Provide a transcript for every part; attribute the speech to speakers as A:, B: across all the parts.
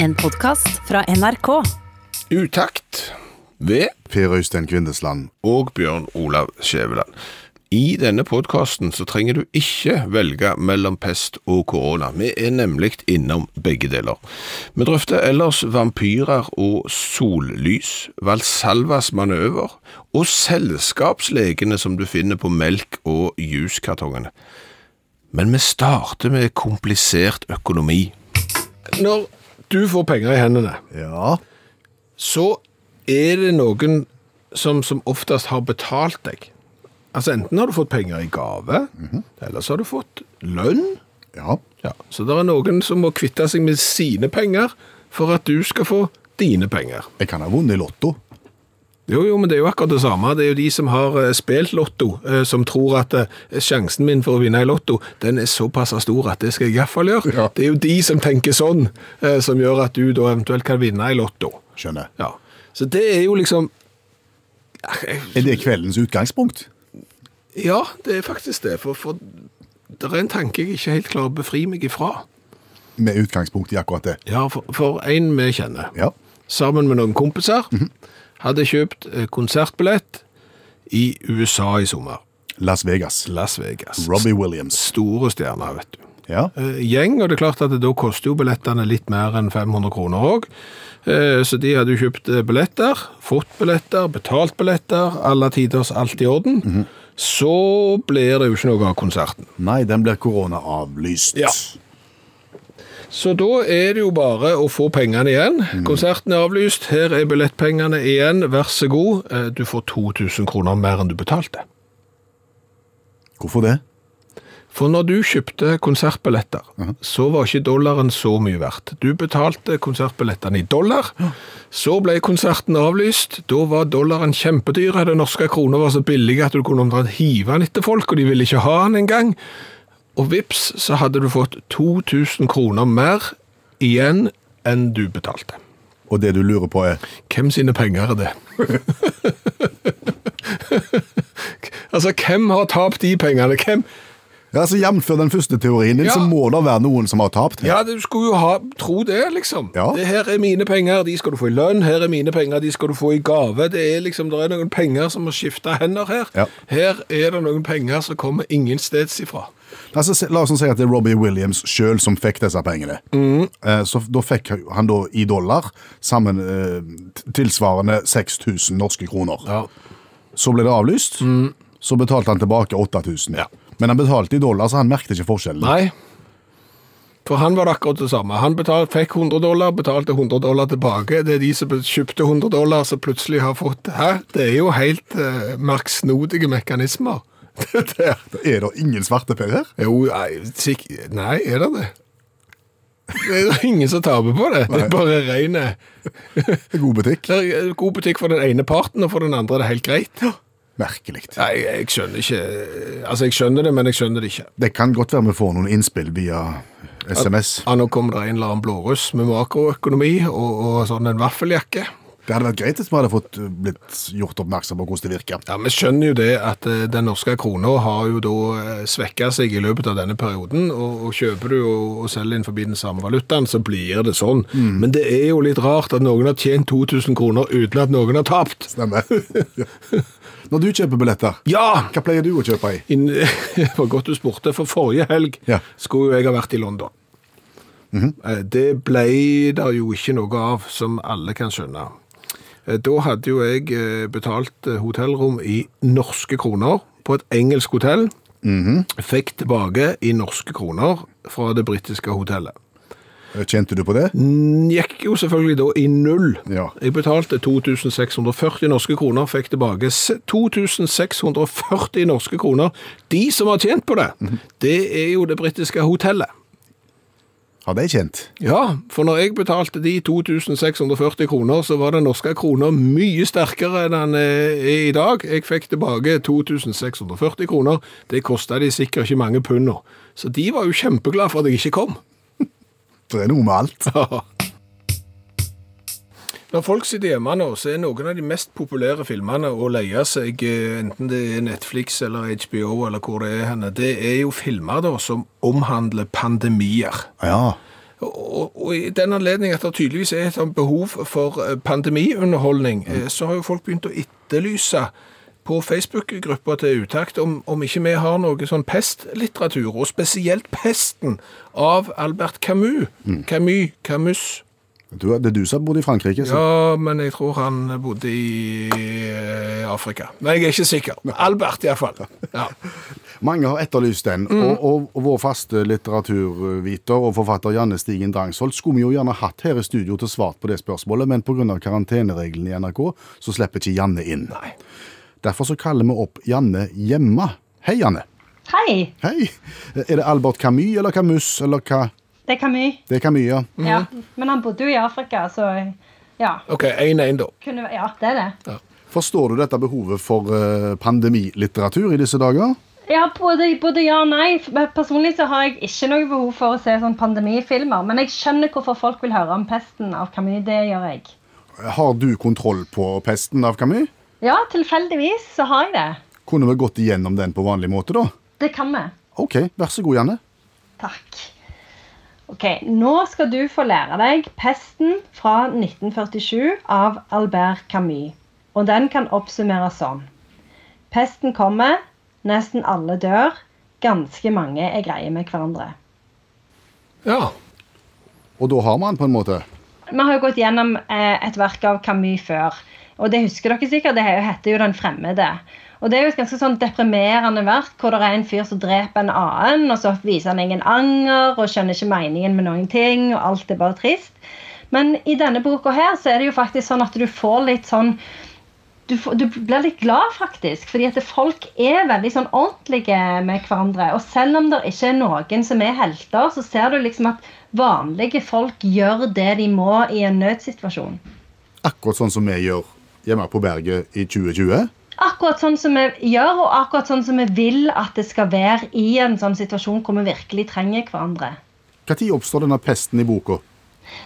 A: En podkast fra NRK.
B: Utakt ved
C: Per Øystein Kvindesland.
B: og Bjørn Olav Skjæveland. I denne podkasten så trenger du ikke velge mellom pest og korona. Vi er nemlig innom begge deler. Vi drøfter ellers vampyrer og sollys, Valsalvas manøver og selskapslegene som du finner på melk- og juskartongene. Men vi starter med komplisert økonomi. Når du får penger i hendene,
C: Ja.
B: så er det noen som som oftest har betalt deg. Altså Enten har du fått penger i gave, eller så har du fått lønn.
C: Ja.
B: Ja, så det er noen som må kvitte seg med sine penger for at du skal få dine penger.
C: Jeg kan ha vunnet i Lotto.
B: Jo, jo, men det er jo akkurat det samme. Det er jo de som har eh, spilt lotto, eh, som tror at eh, sjansen min for å vinne i lotto, den er såpass stor at det skal jeg iallfall gjøre.
C: Ja.
B: Det er jo de som tenker sånn, eh, som gjør at du da eventuelt kan vinne i lotto.
C: Skjønner.
B: Ja. Så det er jo liksom
C: Er det kveldens utgangspunkt?
B: Ja, det er faktisk det. For, for det er en tanke jeg ikke helt klarer å befri meg ifra.
C: Med utgangspunkt i akkurat det.
B: Ja, for, for en vi kjenner,
C: Ja.
B: sammen med noen kompiser, hadde kjøpt eh, konsertbillett i USA i sommer.
C: Las Vegas.
B: Las Vegas.
C: Robbie Williams.
B: Store stjerner, vet du.
C: Ja.
B: Eh, Gjeng, og det er klart at det da koster jo billettene litt mer enn 500 kroner òg. Så de hadde jo kjøpt eh, billetter, fått billetter, betalt billetter, alle tiders, alt i orden. Så blir det jo ikke noe av konserten.
C: Nei, den blir koronaavlyst.
B: Ja. Så da er det jo bare å få pengene igjen. Konserten er avlyst, her er billettpengene igjen, vær så god. Eh, Du får 2000 kroner mer enn du betalte.
C: Hvorfor det?
B: For når du kjøpte konsertbilletter, så var ikke dollaren så mye verdt. Du betalte konsertbillettene i dollar, så ble konserten avlyst, da var dollaren kjempedyr, den norske kroner var så billig at du kunne omtrent hive den etter folk, og de ville ikke ha den engang. Og vips, så hadde du fått 2000 kroner mer igjen enn du betalte.
C: Og det du lurer på er
B: Hvem sine penger er det? altså, hvem har tapt de pengene? Hvem?
C: Ja, altså Jevnfør den første teorien din,
B: Ja.
C: så må det være noen som har tapt.
B: Ja, du skulle jo ha, tro det, liksom.
C: Ja.
B: Det her er mine penger, de skal du få i lønn. Her er mine penger, de skal du få i gave. Det er liksom, det er noen penger som har skiftet hender her.
C: Ja.
B: Her er det noen penger som kommer ingen steds ifra.
C: Altså, se- la oss nå si at det er Robbie Williams sjøl som fikk disse pengene.
B: Mm.
C: Eh, Så da fikk han da i dollar sammen eh, t- tilsvarende 6000 norske kroner.
B: Ja.
C: Så ble det avlyst. Så betalte han tilbake 8000.
B: Mm. Ja.
C: Men han betalte i dollar, så han merket ikke forskjellen.
B: Nei. For han var det akkurat det samme. Han betalt, fikk 100 dollar, betalte 100 dollar tilbake. Det er de som be- kjøpte 100 dollar, som plutselig har fått Hæ? Det er jo helt eh, marksnodige mekanismer. Det der.
C: Er det ingen svarte per her?
B: Jo, nei, sikk... Nei, er det det? Det er ingen som taper på det. Det er bare rene
C: God butikk.
B: det er eh, God butikk for den ene parten, og for den andre er det helt greit.
C: Merkelig.
B: Nei, jeg skjønner ikke Altså, jeg skjønner det, men jeg skjønner det ikke.
C: Det kan godt være vi får noen innspill via SMS.
B: Ja, nå kommer det en eller annen blåruss med makroøkonomi og, og sånn en vaffeljakke.
C: Det hadde vært greit hvis vi hadde fått eh, blitt gjort oppmerksom på hvordan det virker.
B: Ja, Vi skjønner jo det at eh, den norske krona har jo da eh, svekket seg i løpet av denne perioden. Og, og kjøper du og, og selger innenfor den samme valutaen, så blir det sånn. Men det er jo litt rart at noen har tjent 2000 kroner uten at noen har tapt.
C: Stemmer. Ja. Når du kjøper billetter,
B: Ja!
C: hva pleier du å kjøpe i?
B: Inn- Det var godt du spurte, for forrige helg
C: Ja.
B: skulle jo jeg ha vært i London. Eh, Det ble der jo ikke noe av, som alle kan skjønne. Eh, Da hadde jo jeg eh, betalt eh, hotellrom i norske kroner på et engelsk hotell. Mhm. Fikk tilbake i norske kroner fra det britiske hotellet.
C: Tjente Eh, du på det?
B: Den Gikk jo selvfølgelig da i null.
C: Ja.
B: Jeg betalte 2640 norske kroner, fikk tilbake s- 2640 norske kroner. De som har tjent på det, det er jo det britiske hotellet.
C: Har de tjent?
B: Ja, for når jeg betalte de 2640 kroner, så var den norske kroner mye sterkere enn den eh, er i dag. Jeg fikk tilbake 2640 kroner. Det kosta de sikkert ikke mange pund nå. Så de var jo kjempeglade for at jeg ikke kom.
C: Det er noe med alt.
B: Når folk sitter hjemme nå, så er noen av de mest populære filmene å leie seg, eh, enten det er Netflix eller HBO eller hvor det er henne, det er jo filmer da som omhandler pandemier.
C: Ja.
B: Og, og i den anledning at det tydeligvis er et sånt behov for eh, pandemiunderholdning, eh, så har jo folk begynt å etterlyse på Facebook-gruppa til Utakt om, om ikke vi har noe sånn pestlitteratur, og spesielt pesten av Albert Camus. Camus, Camus.
C: Du, det er du som har bodd i Frankrike. Så.
B: Ja, men jeg tror han bodde i eh, Afrika. Men jeg er ikke sikker. Albert iallfall. Ja.
C: Mange har etterlyst den. Og, og, og vår faste litteraturviter og forfatter Janne Stigen Drangsholt skulle vi jo gjerne hatt her i studio til svart på det spørsmålet, men pga. karantenereglene i NRK så slipper ikke Janne inn.
B: Nei.
C: Derfor så kaller vi opp Janne hjemme. Hei, Janne.
D: Hei,
C: Hei. Er det Albert Camus eller Camus eller hva?
D: det er Camus.
C: Det er Camus, ja.
D: Ja. Men han bodde jo i Afrika, så ja.
B: OK, 1-1, da.
D: Kunne, væ- ja, det er det.
C: Forstår du dette behovet for eh, pandemilitteratur i disse dager?
D: Ja, både, både ja og nei. F- men Personlig så har jeg ikke noe behov for å se sånn pandemifilmer, men jeg skjønner hvorfor folk vil høre om pesten av Camus. Det gjør jeg.
C: Har du kontroll på pesten av Camus?
D: Ja, tilfeldigvis så har jeg det.
C: Kunne vi gått igjennom den på vanlig måte, da?
D: Det kan vi.
C: OK, vær så god, Janne.
D: Takk. Ok, Nå skal du få lære deg 'Pesten' fra 1947 av Albert Camus. Og den kan oppsummeres sånn. Pesten kommer, nesten alle dør, ganske mange er greie med hverandre.
B: Ja.
C: Og da har vi han på en måte.
D: Vi har jo gått gjennom eh, et verk av Camus før. Og det husker dere sikkert, det he- heter jo 'Den fremmede'. Og Det er jo et ganske sånn deprimerende verk hvor det er en fyr som dreper en annen, og så viser han ingen anger og skjønner ikke meningen med noen ting, og alt er bare trist. Men i denne boka her så er det jo faktisk sånn at du får litt sånn du, får- du blir litt glad, faktisk. Fordi at folk er veldig sånn ordentlige med hverandre. Og selv om det ikke er noen som er helter, så ser du liksom at vanlige folk gjør det de må i en nødsituasjon.
C: Akkurat sånn som vi gjør hjemme på berget i 2020.
D: Akkurat sånn som vi gjør, og akkurat sånn som vi vil at det skal være i en sånn situasjon hvor vi virkelig trenger hverandre.
C: Når oppstår denne pesten i boka?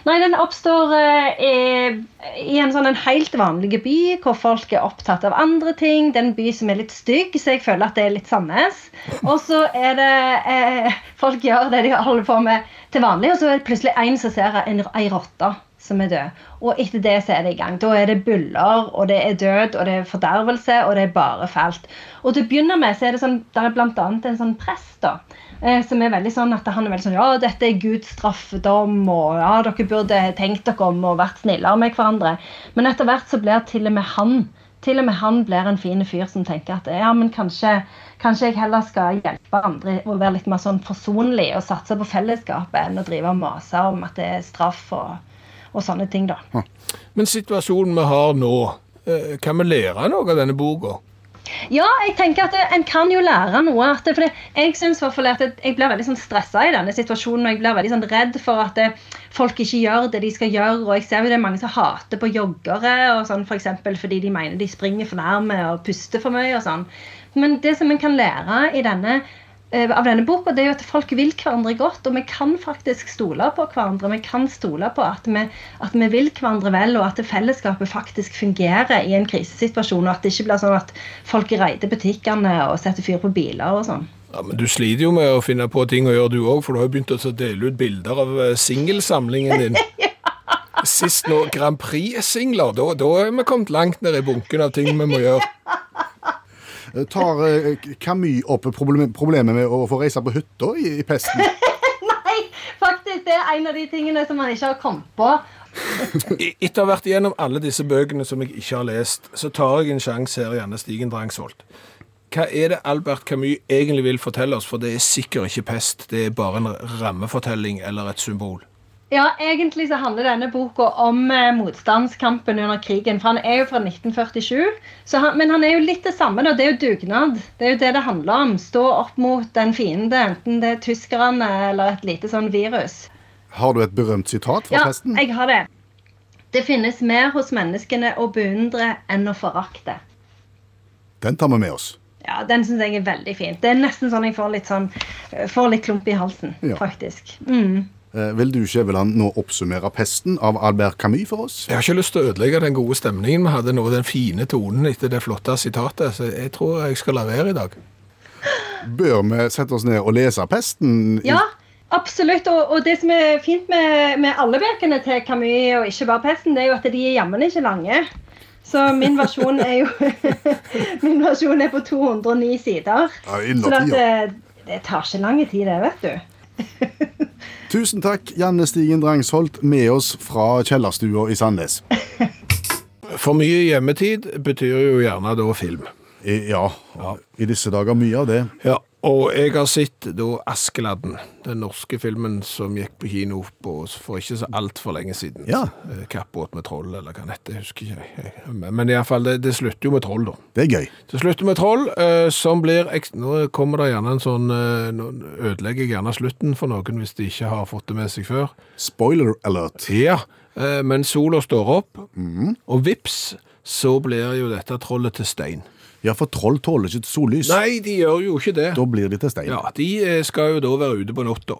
D: Nei, den oppstår eh, i, i en sånn en helt vanlig by, hvor folk er opptatt av andre ting. Det er en by som er litt stygg, så jeg føler at det er litt Sandnes. Og så er det eh, Folk gjør det de holder på med til vanlig, og så er det plutselig en som ser en, ei rotte som er død. Og etter det så er det i gang. Da er det buller, og det er død, og det er fordervelse, og det er bare fælt. Og til å begynne med så er det sånn, der er blant annet en sånn prest da, eh, som er veldig sånn at han er veldig sånn, ja, dette er Guds straffedom, og ja, dere burde tenkt dere om og vært snillere med hverandre. Men etter hvert så blir til og med han, til og med han blir en fin fyr som tenker at ja, men kanskje, kanskje jeg heller skal hjelpe andre og være litt mer sånn forsonlig og satse på fellesskapet enn å drive og mase om at det er straff og, og sånne ting da.
B: Men situasjonen vi har nå, eh, kan vi lære noe av denne boka?
D: Ja, jeg tenker at eh, en kan jo lære noe. At det, for det, jeg synes i hvert fall at jeg blir veldig sånn stressa i denne situasjonen. og Jeg blir veldig sånn redd for at eh, folk ikke gjør det de skal gjøre. og Jeg ser jo det er mange som hater på joggere og sånn, for eksempel, fordi de mener de springer for nærme og puster for mye. og sånn. Men det som en kan lære i denne, eh, av denne boka, det er jo at folk vil hverandre godt. Og vi kan faktisk stole på hverandre. Vi kan stole på at vi, at vi vil hverandre vel, og at fellesskapet faktisk fungerer i en krisesituasjon. Og at det ikke blir sånn at folk raider butikkene og setter fyr på biler og sånn.
B: Ja, men Du sliter jo med å finne på ting å gjøre, du òg, for du har jo begynt å dele ut bilder av eh, singelsamlingen din. Sist nå Grand Prix-singler. Da, da er vi kommet langt ned i bunken av ting vi må gjøre.
C: Eh, Tar eh, Camus opp problem, problemet med å få reise på hytta i, i pesten?
D: Nei, faktisk, det er en av de tingene som man ikke har kommet på.
B: E- Etter å ha vært igjennom alle disse bøkene som jeg ikke har lest, så tar jeg en sjanse her, Janne Stigen Drangsvold. Hva er det Albert Camus egentlig vil fortelle oss? For det er sikkert ikke pest, det er bare en rammefortelling eller et symbol.
D: Ja, egentlig så handler denne boka om eh, motstandskampen under krigen. For han er jo fra 1947, så han, men han er jo litt det samme. da, Det er jo dugnad. Det er jo det det handler om. Stå opp mot en fiende, enten det er tyskerne eller et lite sånn virus.
C: Har du et berømt sitat fra
D: Ja,
C: pesten?
D: jeg har det. Det finnes mer hos menneskene å beundre enn å forakte.
C: Den tar vi med oss.
D: Ja, Den syns jeg er veldig fin. Det er nesten sånn jeg får litt, sånn, får litt klump i halsen,
C: Ja.
D: faktisk. Mm.
C: Eh, Vil du, Skjæveland, nå oppsummere pesten av Albert Camus for oss?
B: Jeg har ikke lyst til å ødelegge den gode stemningen vi hadde nå, den fine tonen etter det flotte sitatet, så jeg tror jeg skal la være i dag.
C: Bør vi sette oss ned og lese pesten? i-
D: Ja, Absolutt. Og, og det som er fint med, med alle bøkene til Camus, og ikke bare 'Pesten', det er jo at de er jammen ikke lange. Så min versjon er jo Min versjon er på 209 sider.
C: Ja,
D: Så
C: innertid,
D: at,
C: ja.
D: eh, det tar ikke lang tid, det, vet du.
C: Tusen takk, Janne Stigen Drangsholt, med oss fra kjellerstua i Sandnes.
B: For mye hjemmetid betyr jo gjerne da film.
C: I, ja, i disse dager mye av det.
B: Ja, og jeg har sett da Askeladden, den norske filmen som gikk på kino på, for ikke så altfor lenge siden.
C: Ja.
B: Eh, Kappbåt med troll, eller hva det heter, jeg husker ikke. jeg. Men men i alle fall, det, det slutter jo med troll da.
C: Det er gøy.
B: Det slutter med troll, eh, som blir ek- Nå kommer det gjerne en sånn eh, Nå ødelegger jeg gjerne slutten for noen hvis de ikke har fått det med seg før.
C: Spoiler alert.
B: Ja, eh, men sola står opp, og vips, så blir jo dette trollet til stein.
C: Ja, for troll tåler ikke sollys.
B: Nei, de gjør jo ikke det.
C: Da blir de til stein.
B: Ja, De eh, skal jo da være ute på natta.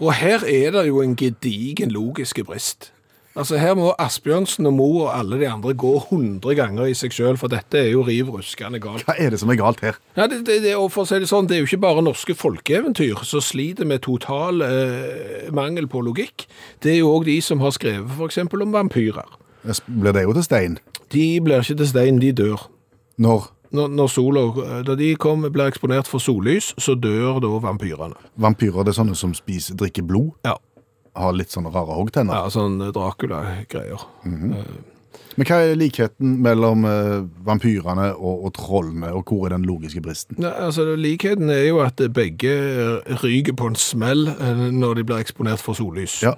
B: Og her er det jo en gedigen logiske brist. Altså Her må Asbjørnsen og Mo og alle de andre gå 100 ganger i seg sjøl, for dette er jo riv ruskende galt.
C: Hva er det som er galt her?
B: Ja, det, det, det, og for å si det sånn, det er jo ikke bare norske folkeeventyr som sliter med total eh, mangel på logikk. Det er jo òg de som har skrevet f.eks. om vampyrer.
C: Es- Blir det jo til stein?
B: De blir ikke til stein, de dør.
C: Når
B: Når, når sola, eh, da de kom, blir eksponert for sollys, så dør da vampyrene.
C: vampyrer det er sånne som spiser, drikker blod,
B: Ja,
C: har litt sånne rare hoggtenner.
B: ja sånn Dracula-greier.
C: Men hva er likheten mellom eh, vampyrene og, og trollene, og hvor er den logiske bristen?
B: Nei, altså Likheten er jo at begge ryker på en smell eh, når de blir eksponert for sollys.
C: Ja.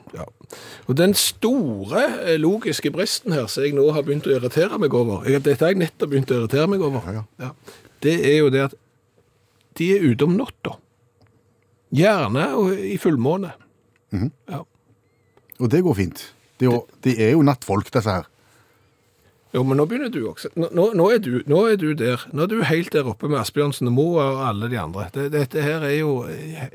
B: Og den store eh, logiske bristen her som jeg nå har begynt å irritere meg over jeg, Dette har jeg nettopp begynt å irritere meg over.
C: Ja,
B: Ja. Det er jo det at de er ute om natta. Gjerne og i fullmåne.
C: Mhm.
B: ja.
C: Og det går fint. De, er jo- de er jo nattfolk, disse her.
B: Jo, men nå begynner du også. Nå, nå, nå, er du, nå er du der. Nå er du helt der oppe med Asbjørnsen og Moa og alle de andre. Det- Dette her er jo eh,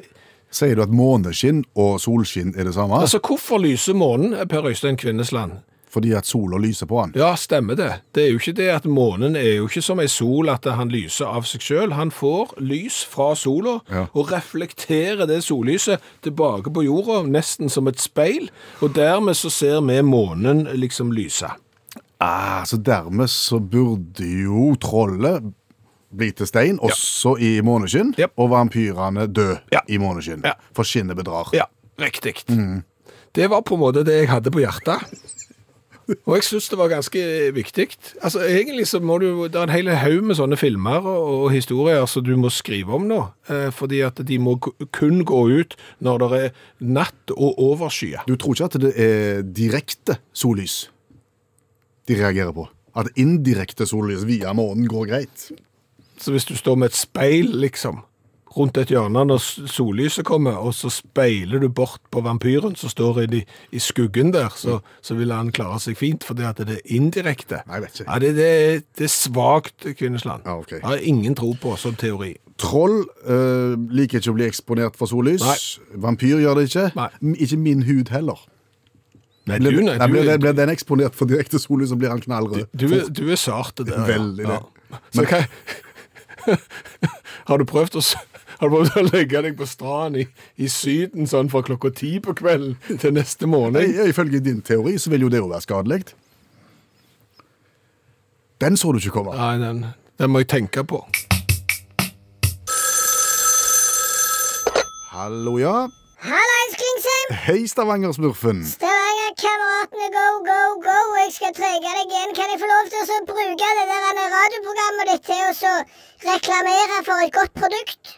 C: Sier du at måneskinn og solskinn er det samme?
B: Altså, hvorfor lyser månen, eh, Per Øystein Kvinnesland?
C: Fordi at sola lyser på han?
B: Ja, stemmer det. Det er jo ikke det at månen er jo ikke som ei sol, at han lyser av seg sjøl. Han får lys fra sola
C: Ja.
B: og reflekterer det sollyset tilbake på jorda, nesten som et speil, og dermed så ser vi månen liksom lyse.
C: Ah, så dermed så burde jo trollet bli til stein, også i måneskinn,
B: Yep.
C: og vampyrene dø
B: Ja.
C: i måneskinn.
B: Ja.
C: For skinnet bedrar.
B: Ja, riktig. Det var på en måte det jeg hadde på hjertet. Og jeg syns det var ganske viktig. Altså, Egentlig så må du Det er en hel haug med sånne filmer og, og historier som du må skrive om nå. Eh, fordi at de må ku- kun gå ut når det er natt og overskyet.
C: Du tror ikke at det er direkte sollys de reagerer på? At indirekte sollys via månen går greit?
B: Så hvis du står med et speil, liksom, rundt et hjørne når s- sollyset kommer, og så speiler du bort på vampyren som står i, i skuggen der, så, så vil han klare seg fint, fordi at det er indirekte.
C: Nei, jeg vet ikke.
B: Ja, det, det, det er svagt, Kvinnesland.
C: Ja, ok.
B: Jeg har ingen tro på som teori.
C: Troll eh, liker ikke å bli eksponert for sollys. Vampyr gjør det ikke.
B: Nei.
C: M- Ikke min hud heller.
B: Nei,
C: Blir,
B: du, nei,
C: nei,
B: du,
C: blir, den- blir den eksponert for direkte sollys, så blir han knallrød.
B: du, er- du er sart der. ja.
C: Veldig det.
B: Så hva... har du prøvd å... s- Har du prøvd å legge deg på stranden i, i syden sånn fra klokka ti på kvelden til neste måned?
C: Nei, Ifølge din teori så vil jo det jo være skadelig. Den så du ikke komme.
B: Nei, den, den må jeg tenke på.
C: Hallo, ja.
E: Hallais, Klingsheim!
C: Hei, Stavanger-smurfen.
E: Stavanger-kameratene, go, go, go! Jeg skal trege deg igjen. Kan jeg få lov til å så bruke det der andre radioprogrammet ditt til å så reklamere for et godt produkt?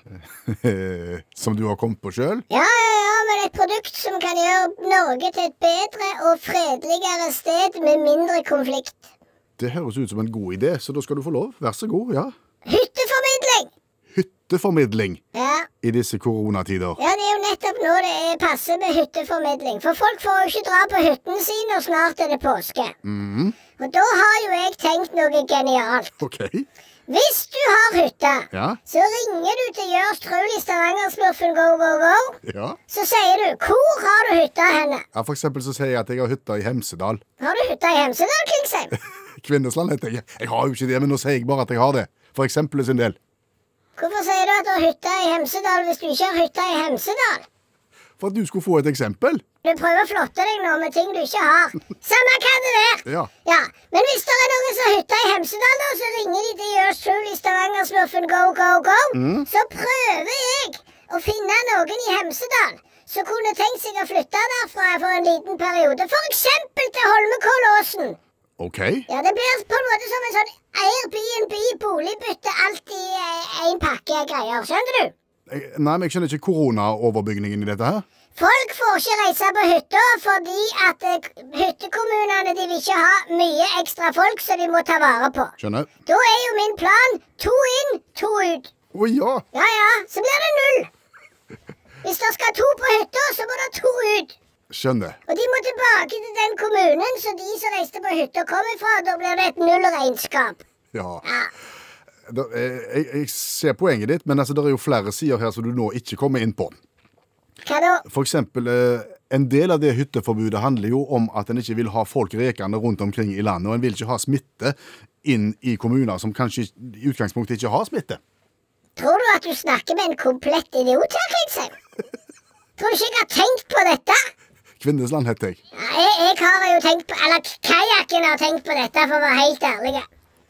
C: Som du har kommet på sjøl.
E: Ja, ja, ja, men et produkt som kan gjøre Norge til et bedre og fredeligere sted med mindre konflikt.
C: Det høres ut som en god idé, så da skal du få lov. Vær så god. ja.
E: Hytteformidling!
C: Hytteformidling
E: Ja,
C: i disse koronatider.
E: ja, det er jo nettopp nå det er passe med hytteformidling. For folk får jo ikke dra på hyttene sine, og snart er det påske. Og da har jo jeg tenkt noe genialt.
C: OK?
E: Hvis du har hytte,
C: Ja.
E: så ringer du til Jørs Truls Stavanger-smurfen Go Go Go.
C: Ja.
E: Så sier du 'Hvor har du hytta henne?'
C: ja for eksempel så sier jeg at jeg har hytta i Hemsedal.
E: Har du hytta i Hemsedal, Klingsheim?
C: Kvinnesland heter jeg. Jeg har jo ikke det, men nå sier jeg bare at jeg har det. For eksempelet sin del.
E: Hvorfor sier du at du har hytta i Hemsedal hvis du ikke har hytta i Hemsedal?
C: for at du skulle få et eksempel.
E: Du prøver å flotte deg nå med ting du ikke har. Samme hva det er.
C: Ja.
E: Ja, Men hvis det er noen som hytter i Hemsedal, da, så ringer de til Yours Truly Stavanger-smurfen Go Go Go. Så prøver jeg å finne noen i Hemsedal som kunne tenkt seg å flytte derfra for en liten periode. For eksempel til Holmenkollåsen.
C: OK.
E: Ja, det blir på en måte som en sånn Airbnb-boligbytte alt i én pakke greier. Skjønner du?
C: Jeg, nei, men jeg skjønner ikke koronaoverbygningen i dette her.
E: Folk får ikke reise på hytta fordi at eh, hyttekommunene de vil ikke ha mye ekstra folk som de må ta vare på.
C: Skjønner.
E: Da er jo min plan to inn, to ut.
C: Å ja.
E: Ja ja, så blir det null. Hvis det skal to på hytta, så må det to ut.
C: Skjønner.
E: Og de må tilbake til den kommunen som de som reiste på hytta, kommer fra. Da blir det et nullregnskap.
C: Ja. Da, eh, jeg, jeg ser poenget ditt, men altså, det er jo flere sider her som du nå ikke kommer inn på.
E: Hva da?
C: For eksempel, eh, en del av det hytteforbudet handler jo om at en ikke vil ha folk rekende rundt omkring i landet, og en vil ikke ha smitte inn i kommuner som kanskje i utgangspunktet ikke har smitte.
E: Tror du at du snakker med en komplett idiot her, Klingsheim? Tror du ikke jeg har tenkt på dette?
C: Kvinnesland heter jeg.
E: Ja, Jeg, jeg har jo tenkt på Eller kajakken har tenkt på dette, for å være helt ærlig.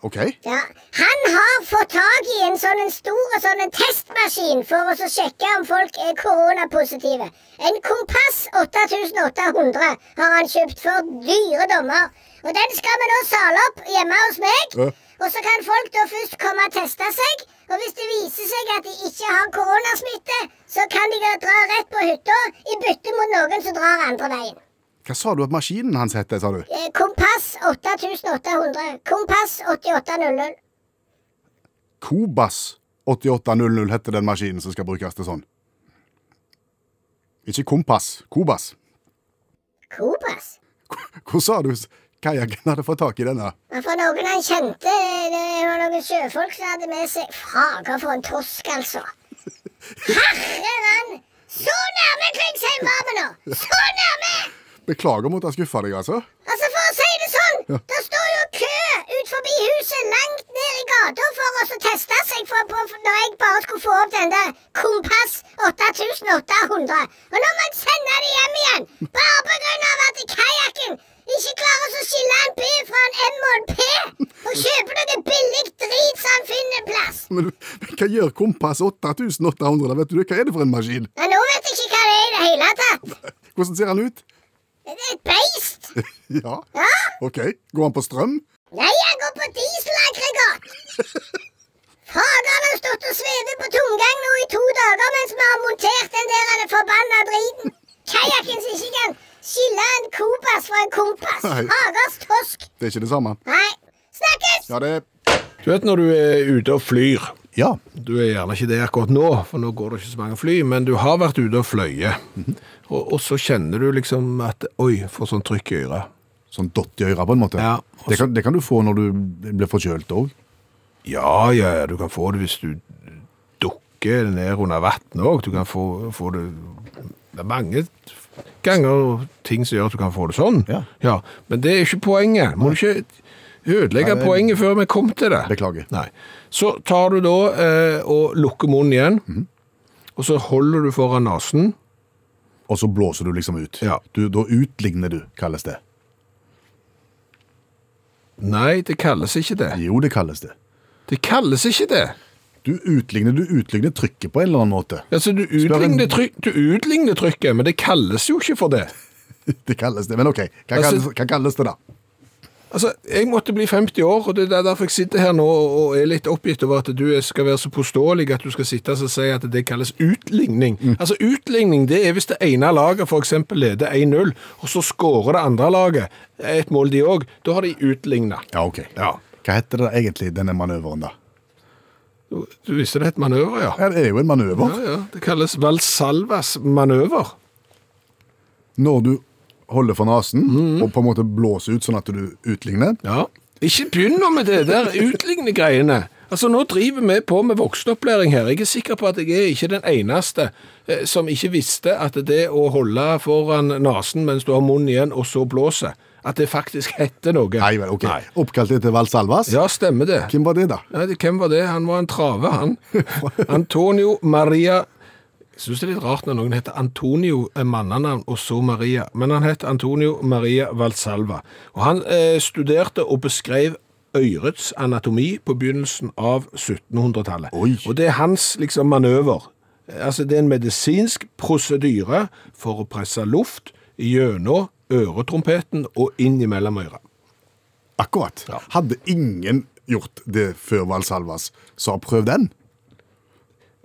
C: OK?
E: Ja. Han har fått tak i en sånn en stor sånn en testmaskin for å så sjekke om folk er koronapositive. En Kompass 8800 har han kjøpt for dyre dommer. Og den skal vi nå sale opp hjemme hos meg.
C: Ja.
E: Og så kan folk da først komme og teste seg. Og hvis det viser seg at de ikke har koronasmitte, så kan de da dra rett på hytta i bytte mot noen som drar andre veien.
C: Hva sa du at maskinen hans heter, sa du?
E: Eh, Kompass 8800. Kompass 8800.
C: Kobas 8800 heter den maskinen som skal brukes til sånn. Ikke kompass, Kobas.
E: Kompass?
C: Hvor sa du s- kajakken hadde fått tak i denne?
E: Det var noen han kjente. eh, Det var noen sjøfolk som hadde med seg Fager for en tosk, altså. Herre mann! Så nærme Klingsheim var vi nå! Så nærme!
C: Beklager mot å skuffe deg, altså.
E: Altså, for å si det sånn, det står jo kø ut forbi huset langt ned i gata for å så teste seg for, på, for når jeg bare skulle få opp den der Kompass 8800. Og nå må jeg sende det hjem igjen, bare på grunn av at kajakken ikke klarer å skille en B fra en M og en P, og kjøper noe billig drit så han finner plass.
C: Men, men hva gjør kompass 8800? Vet du det? Hva er det for en maskin?
E: Men nå vet jeg ikke hva det er i det hele tatt.
C: Hvordan ser han ut?
E: Det er et beist.
C: Ja,
E: Ja?
C: OK. Går han på strøm?
E: Nei, han går på dieselaggregat. Faderen har stått og svevet på tomgang nå i to dager mens vi har montert den der han er forbanna driten. Kajakken som ikke kan skille en kopass fra en kompass.
C: Nei.
E: Fagers tosk.
C: Det er ikke det samme.
E: Nei. Snakkes!
C: Ja, det
B: Du vet når du er ute og flyr,
C: Ja.
B: du er gjerne ikke det akkurat nå, for nå går det ikke så mange fly, men du har vært ute og fløye, og, og så kjenner du liksom at, oi, får sånn trykk i øret.
C: Sånn dott i øret, på en måte.
B: Ja, og
C: det, kan, det kan du få når du blir forkjølt òg.
B: Ja, ja, ja, du kan få det hvis du dukker ned under vann òg. Du kan få, få det Det er mange ganger ting som gjør at du kan få det sånn.
C: Ja.
B: Men det er ikke poenget. Må du ikke ødelegge
C: Nei, det-
B: poenget før vi kom til det.
C: Beklager.
B: Nei. Så tar du da eh, og lukker munnen igjen,
C: Mhm.
B: og så holder du foran nesen.
C: Og så blåser du liksom ut.
B: Ja.
C: Du, da utligner du, kalles det.
B: Nei, det kalles ikke det.
C: Jo, det kalles det.
B: Det kalles ikke det.
C: Du utligner, du utligner trykket på en eller annen måte.
B: Altså, du
C: Spør en-
B: utligner, tryk, du utligner trykket, men det kalles jo ikke for det.
C: Det kalles det, men OK. Hva,
B: Altså-
C: kalles, hva kalles det, da?
B: Altså, jeg måtte bli 50 år, og det er derfor jeg sitter her nå og og er litt oppgitt over at du er- skal være så påståelig at du skal sitte og si at det kalles utligning. Altså, utligning det er hvis det ene laget for eksempel leder 1-0, og så skårer det andre laget et mål de òg. Da har de utligna.
C: Ja, OK.
B: Ja.
C: Hva heter det da egentlig, denne manøveren, da?
B: Du du visste det het manøver, ja.
C: Ja, det er jo en manøver.
B: Ja, ja. Det kalles Valsalvas manøver.
C: Når du holder for nesen og på en måte blåser ut sånn at du utligner.
B: Ja. Ikke begynn nå med det der utlignende greiene. Altså, Nå driver vi på med voksenopplæring her. Jeg er sikker på at jeg er ikke den eneste eh, som ikke visste at det å holde foran nesen mens du har munnen igjen, og så blåser, at det faktisk heter noe.
C: Nei vel, OK. Oppkalt etter Valsalvas.
B: Ja, stemmer det.
C: Hvem var det, da?
B: Nei, det- Hvem var det? Han var en trave, han. Antonio Maria Jeg syns det er litt rart når noen heter Antonio eh, mannenavn, og så Maria. Men han het Antonio Maria Valsalva. Og han eh, studerte og beskrev øyrets anatomi på begynnelsen av 1700-tallet.
C: Oi.
B: Og det er hans liksom manøver. Eh, Altså, det er en medisinsk prosedyre for å presse luft gjennom øretrompeten og inn imellom øra.
C: Akkurat. Hadde ingen gjort det før Valsalvas sa 'prøv den'?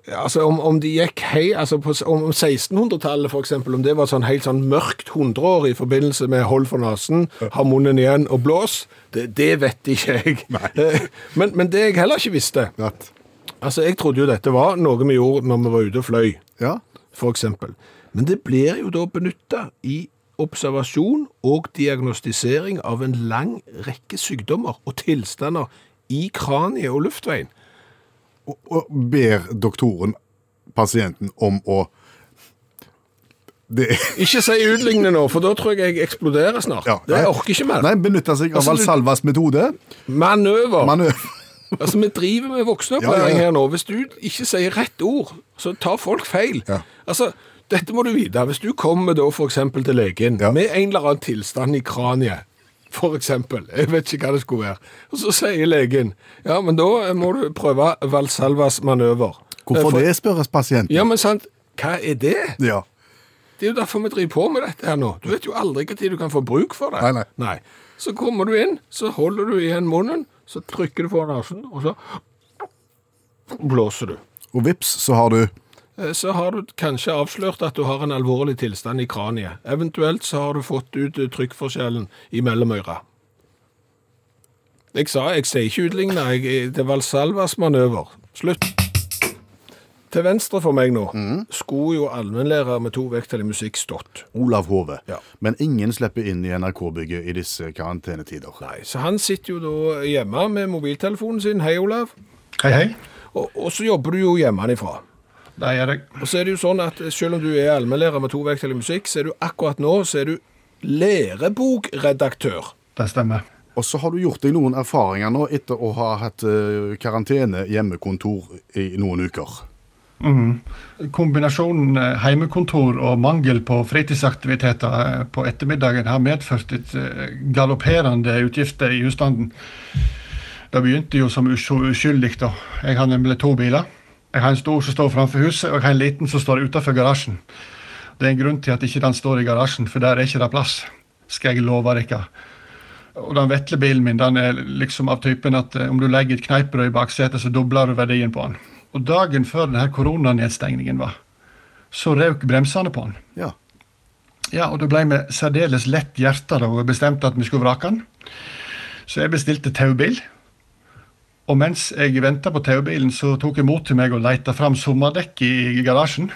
B: Altså om, om de gikk hei, altså på, om 1600-tallet for eksempel, om det var sånn helt sånn mørkt hundreår i forbindelse med hold for nasen, ha munnen igjen og blås, det, det vet ikke jeg.
C: Nei.
B: Men, men det jeg heller ikke visste,
C: At,
B: altså jeg trodde jo dette var noe vi gjorde når vi var ute og fløy,
C: ja.
B: for eksempel. Men det blir jo da benyttet i observasjon og diagnostisering av en lang rekke sykdommer og tilstander i kraniet og luftveien.
C: Og, og ber doktoren pasienten om å det,
B: Ikke si utlignende nå, for da tror jeg jeg eksploderer snart.
C: ja,
B: det
C: nei.
B: jeg orker ikke mer.
C: Nei, Benytte seg av
B: Altså, du-
C: Valsalvas metode.
B: Manøver.
C: Manøver.
B: altså, vi driver med voksenopplæring
C: Ja, ja, ja.
B: her nå. Hvis du ikke sier rett ord, så tar folk feil.
C: Ja.
B: Altså, dette må du vite. Hvis du kommer da for eksempel til legen
C: Ja.
B: med en eller annen tilstand i kraniet, for eksempel, jeg vet ikke hva det skulle være, og så sier legen, ja, men da må du prøve Valsalvas manøver. Eh,
C: Hvorfor
B: for-
C: det, spørres pasienten.
B: Ja, men sant, hva er det?
C: Ja.
B: Det er jo derfor vi driver på med dette her nå. Du vet jo aldri hva tid du kan få bruk for det.
C: Nei, nei.
B: Så kommer du inn, så holder du igjen munnen, så trykker du på nesen, og så blåser du.
C: Og vips, så har du
B: Eh, Så har du kanskje avslørt at du har en alvorlig tilstand i kraniet. Eventuelt så har du fått ut eh, trykkforskjellen i mellomøra. Jeg sa, jeg sier ikke utligne, jeg, eh, det var Salvas manøver. Slutt. Til venstre for meg nå
C: Mm.
B: skulle jo allmennlærer med to vekttall i musikk stått.
C: Olav Hove.
B: Ja.
C: Men ingen slipper inn i NRK-bygget i disse karantenetider.
B: Nei, så han sitter jo da hjemme med mobiltelefonen sin, hei Olav,
F: Hei, hei.
B: og, og så jobber du jo hjemmefra.
F: Der er jeg.
B: Og så er det jo sånn at selv om du er allmennlærer med to vekttall i musikk, så er du akkurat nå så er du lærebokredaktør.
F: Det stemmer.
C: Og så har du gjort deg noen erfaringer nå etter å ha hatt eh, karantene hjemmekontor i noen uker.
F: Mhm. Kombinasjonen eh, heimekontor og mangel på fritidsaktiviteter eh, på ettermiddagen har medført et eh, galopperende utgifter i husstanden. Det begynte jo som usj- uskyldig, da. Jeg har nemlig to biler. Jeg har en stor som står framfor huset, og jeg har en liten som står utenfor garasjen. Det er en grunn til at ikke den står i garasjen, for der er ikke det plass, skal jeg love dere. Og den vetle bilen min den er liksom av typen at eh, om du legger et kneippbrød i baksetet, så dobler du verdien på den. Og dagen før denne koronanedstengningen var, så røk bremsene på den.
C: Ja.
F: Ja, og det ble med særdeles lett hjerte da vi bestemte at vi skulle vrake den. Så jeg bestilte taubil. Og mens jeg venta på taubilen, så tok jeg mot til meg og leita fram sommerdekk i i garasjen.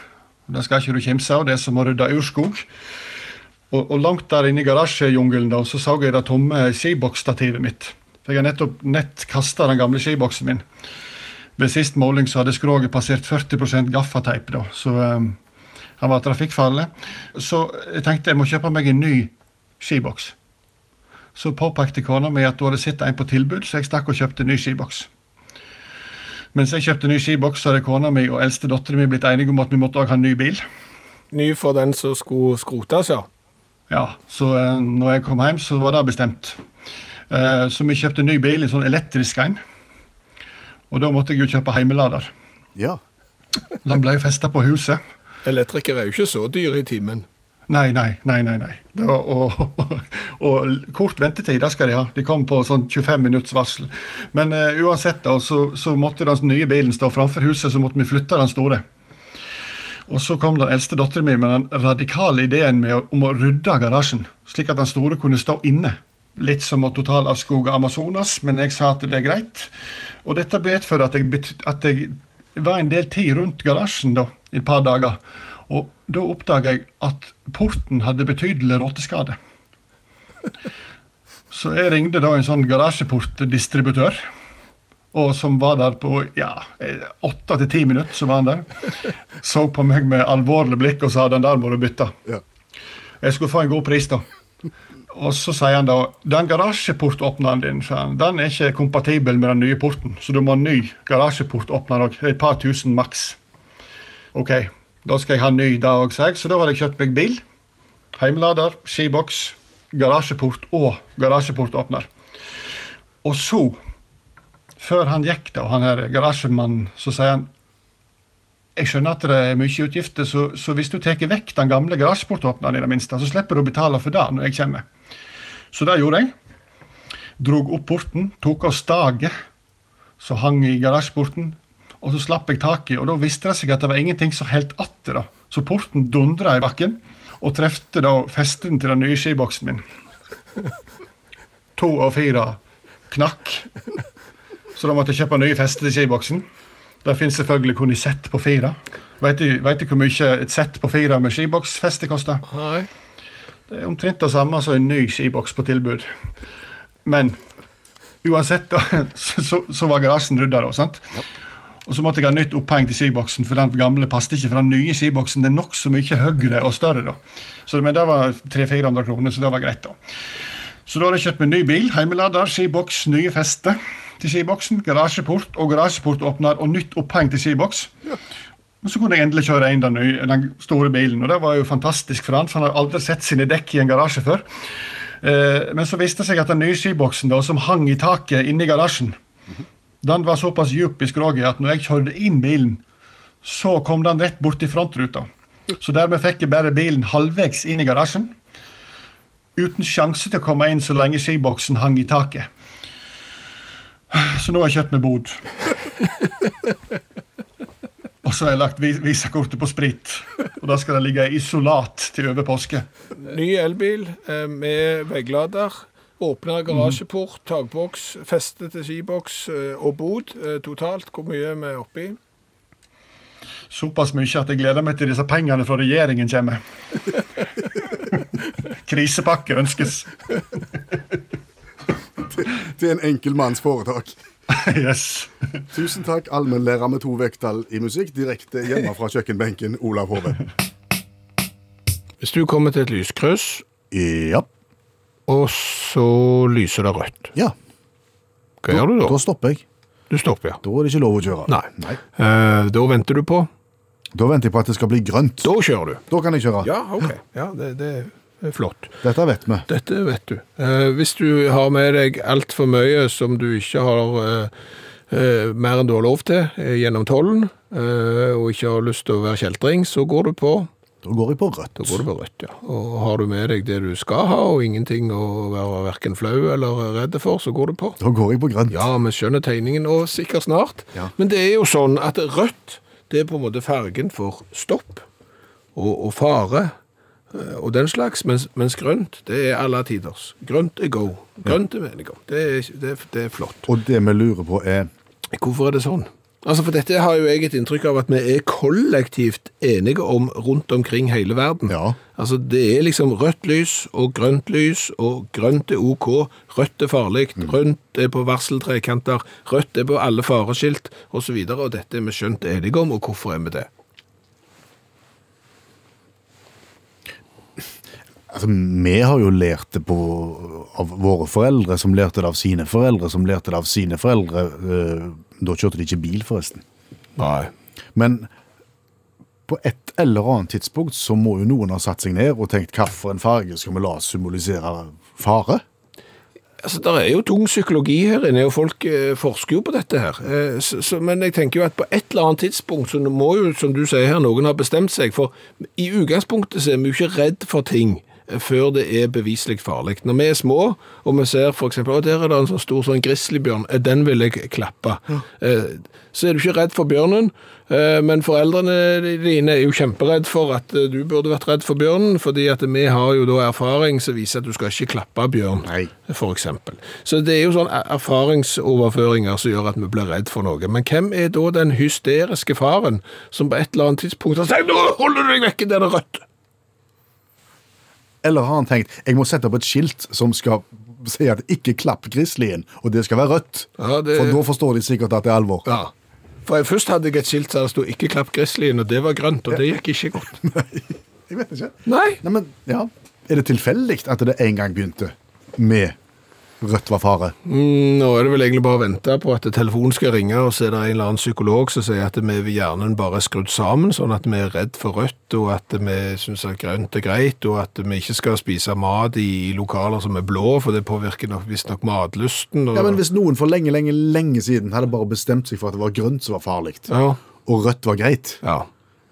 F: Det skal ikke du kimse av, det er som å rydde urskog. Og, og langt der inne i garasjejungelen da, så så jeg det tomme skiboksstativet mitt. For jeg har nettopp nett kasta den gamle skiboksen min. Ved sist måling så hadde skroget passert 40 gaffateip, da, så eh, han var trafikkfarlig. Så jeg tenkte jeg må kjøpe meg en ny skiboks. Så påpekte kona mi at hun hadde sett en på tilbud, så jeg stakk og kjøpte en ny skiboks. Mens jeg kjøpte ny skiboks, så hadde kona mi og eldste dattera mi blitt enige om at vi måtte også ha en ny bil.
B: Ny for den som skulle skrotes, ja.
F: Ja, så eh, når jeg kom hjem, så var det bestemt. Eh, så vi kjøpte en ny bil, en sånn elektrisk en. Og da måtte jeg jo kjøpe heimelader.
C: ja.
F: Den ble festa på huset.
B: Elektrikere er jo ikke så dyre i timen.
F: Nei, nei, nei. nei, nei. Det var, og, og, kort ventetid, det skal de ha. De kom på sånn 25 minutts varsel. Men eh, uansett, da, så, så måtte den nye bilen stå framfor huset, så måtte vi flytte den store. Og så kom den eldste datteren min med den radikale ideen med å, om å rydde garasjen, slik at den store kunne stå inne. Litt som å totalavskoge Amazonas, men jeg sa at det er greit. Og dette medførte at jeg, bet- at jeg var en del tid rundt garasjen da, i et par dager. Og da oppdaga jeg at porten hadde betydelig råteskade. Så jeg ringte da en sånn garasjeportdistributør, og som var der på ja, eh, åtte til ti minutter. så var han der. Så på meg med alvorlig blikk og sa den der må du bytte.
C: Ja.
F: Jeg skulle få en god pris, da. Og så sier han da den garasjeportåpneren din sa han, den er ikke kompatibel med den nye porten, så du må ha en ny garasjeportåpner òg. Et par tusen maks. OK. Da skal jeg ha ny da òg, sa jeg. Så da har jeg kjøpt meg bil. Heimlader, skiboks, garasjeport og garasjeportåpner. Og så, før han gikk, da, han her garasjemannen, så sier han jeg skjønner at det er mye utgifter, så, så hvis du tar vekk den gamle garasjeportåpneren, i det minste, så slipper du å betale for det når jeg kommer. Så det gjorde jeg. Drog opp porten, tok av staget som hang i garasjeporten, og så slapp jeg taket, og da viste det seg at det var ingenting som holdt atter, da. Så porten dundra i bakken, og trefte da festen til den nye skiboksen min. To og fire knakk. Så da måtte jeg kjøpe nye fester til skiboksen. Det finnes selvfølgelig kun i sett på fire. Vet du, vet du hvor mye et sett på fire med skiboksfeste koster?
B: Nei.
F: Det er omtrent det samme som en ny skiboks på tilbud. Men uansett, da, så, så, så var garasjen rydda, da. sant? Og så måtte jeg ha nytt oppheng til skiboksen, for den gamle passet ikke. For den nye skiboksen den er nokså mye høyere og større, da. Så, men det var 300-400 kroner, så det var greit, da. Så da har jeg kjøpt meg ny bil, heimelader, skiboks, nye fester til skiboksen, garasjeport og garasjeportåpner og nytt oppheng til skiboks. Og så kunne jeg endelig kjøre inn den, nye, den store bilen, og det var jo fantastisk for han, for han har aldri sett sine dekk i en garasje før. Eh, men så viste det seg at den nye skiboksen da, som hang i taket inne i garasjen, den var såpass djup i skroget at når jeg kjørte inn bilen, så kom den rett bort i frontruta. Så dermed fikk jeg bare bilen halvveis inn i garasjen, uten sjanse til å komme inn så lenge skiboksen hang i taket. Så nå har jeg kjøpt meg bod. Og så har jeg lagt vi- visakortet på sprit. Og da skal det ligge i isolat til over påske.
G: Ny elbil eh, med vegglader. Åpner garasjeport,
B: Mm.
G: takboks, feste til skiboks eh, og bod. Eh, Totalt, hvor mye er vi oppi?
F: Såpass mye at jeg gleder meg til disse pengene fra regjeringen kommer. Krisepakke ønskes.
C: Til en enkel manns foretak.
F: Yes.
C: Tusen takk, allmennlærer med to vekttall i musikk, direkte hjemme fra kjøkkenbenken, Olav Hove.
B: Hvis du kommer til et lyskryss,
C: Ja.
B: og så lyser det rødt,
C: ja.
B: hva gjør du da?
C: Da stopper jeg.
B: Du stopper, ja.
C: Da er det ikke lov å kjøre.
B: Nei. Eh, da venter du på.
C: Da venter jeg på at det skal bli grønt.
B: Da kjører du.
C: Da kan jeg kjøre.
B: Ja, ok. Ja, det, det er flott.
C: Dette vet vi.
B: Dette vet du. Eh, hvis du har med deg altfor mye som du ikke har eh, eh, mer enn du har lov til eh, gjennom tollen, eh, og ikke har lyst til å være kjeltring, så går du på
C: Da går jeg på rødt.
B: Da går du på rødt, ja. Og har du med deg det du skal ha, og ingenting å være verken flau eller redd for, så går du på.
C: Da går jeg på grønt.
B: Ja, vi skjønner tegningen, og sikkert snart.
C: Ja.
B: Men det er jo sånn at rødt, det er på en måte fargen for stopp og, og fare eh, og den slags, mens, mens grønt, det er alle tiders. Grønt er go. Grønt er meningen. Det er, det, er- det er flott.
C: Og det vi lurer på er
B: Hvorfor er det sånn? Altså, for dette har jo jeg et inntrykk av at vi er kollektivt enige om rundt omkring hele verden.
C: Ja.
B: Altså, det er liksom rødt lys og grønt lys, og grønt er ok, rødt er farlig, grønt er på varseltrekanter, rødt er på alle fareskilt, og så videre, og dette er vi skjønt enige om, og hvorfor er vi det?
C: Altså, vi har jo lært det på, av våre foreldre, som lærte det av sine foreldre, som lærte det av sine foreldre. Eh, Da kjørte de ikke bil, forresten.
B: Nei.
C: Men på et eller annet tidspunkt så må jo noen ha satt seg ned og tenkt hva for en farge skal vi la oss symbolisere fare?
B: Altså, Det er jo tung psykologi her inne, og folk eh, forsker jo på dette her. Eh, så, så, men jeg tenker jo at på et eller annet tidspunkt så må jo, som du sier her, noen ha bestemt seg. For i utgangspunktet så er vi jo ikke redd for ting eh, før det er beviselig farlig. Når vi er små, og vi ser f.eks. at der er det en sånn stor sånn grizzlybjørn, eh, den vil jeg klappe. Eh, så er du ikke redd for bjørnen, eh, men foreldrene dine er jo kjemperedd for at eh, du burde vært redd for bjørnen, fordi at vi har jo da erfaring som viser at du skal ikke klappe bjørn
C: Nei.
B: for eksempel. Så det er jo sånn er- erfaringsoverføringer som gjør at vi blir redd for noe. Men hvem er da den hysteriske faren som på et eller annet tidspunkt har sagt «Nå holder du deg vekke, det er det rødt!»
C: Eller har han tenkt jeg må sette opp et skilt som skal si at ikke klapp grizzlyen, og det skal være rødt?
B: Ja, det-
C: For da forstår de sikkert at det er alvor.
B: Ja. For jeg først hadde jeg et skilt der det stod «Ikke klapp grizzlyen», og det var grønt, og det gikk ikke godt.
C: Jeg vet ikke.
B: Nei,
C: Nei, men ja. Er det tilfeldig at det en gang begynte med Rødt var fare.
B: Mm, Nå er det vel egentlig bare å vente på at telefonen skal ringe, og så er det en eller annen psykolog som sier at vi ved hjernen bare er skrudd sammen, sånn at vi er redd for rødt, og at vi syns at grønt er greit, og at vi ikke skal spise mat i lokaler som er blå, for det påvirker nok- visstnok matlysten. Og,
C: Ja, men Hvis noen for lenge lenge, lenge siden hadde bare bestemt seg for at det var grønt som var farlig,
B: ja,
C: og rødt var greit,
B: ja.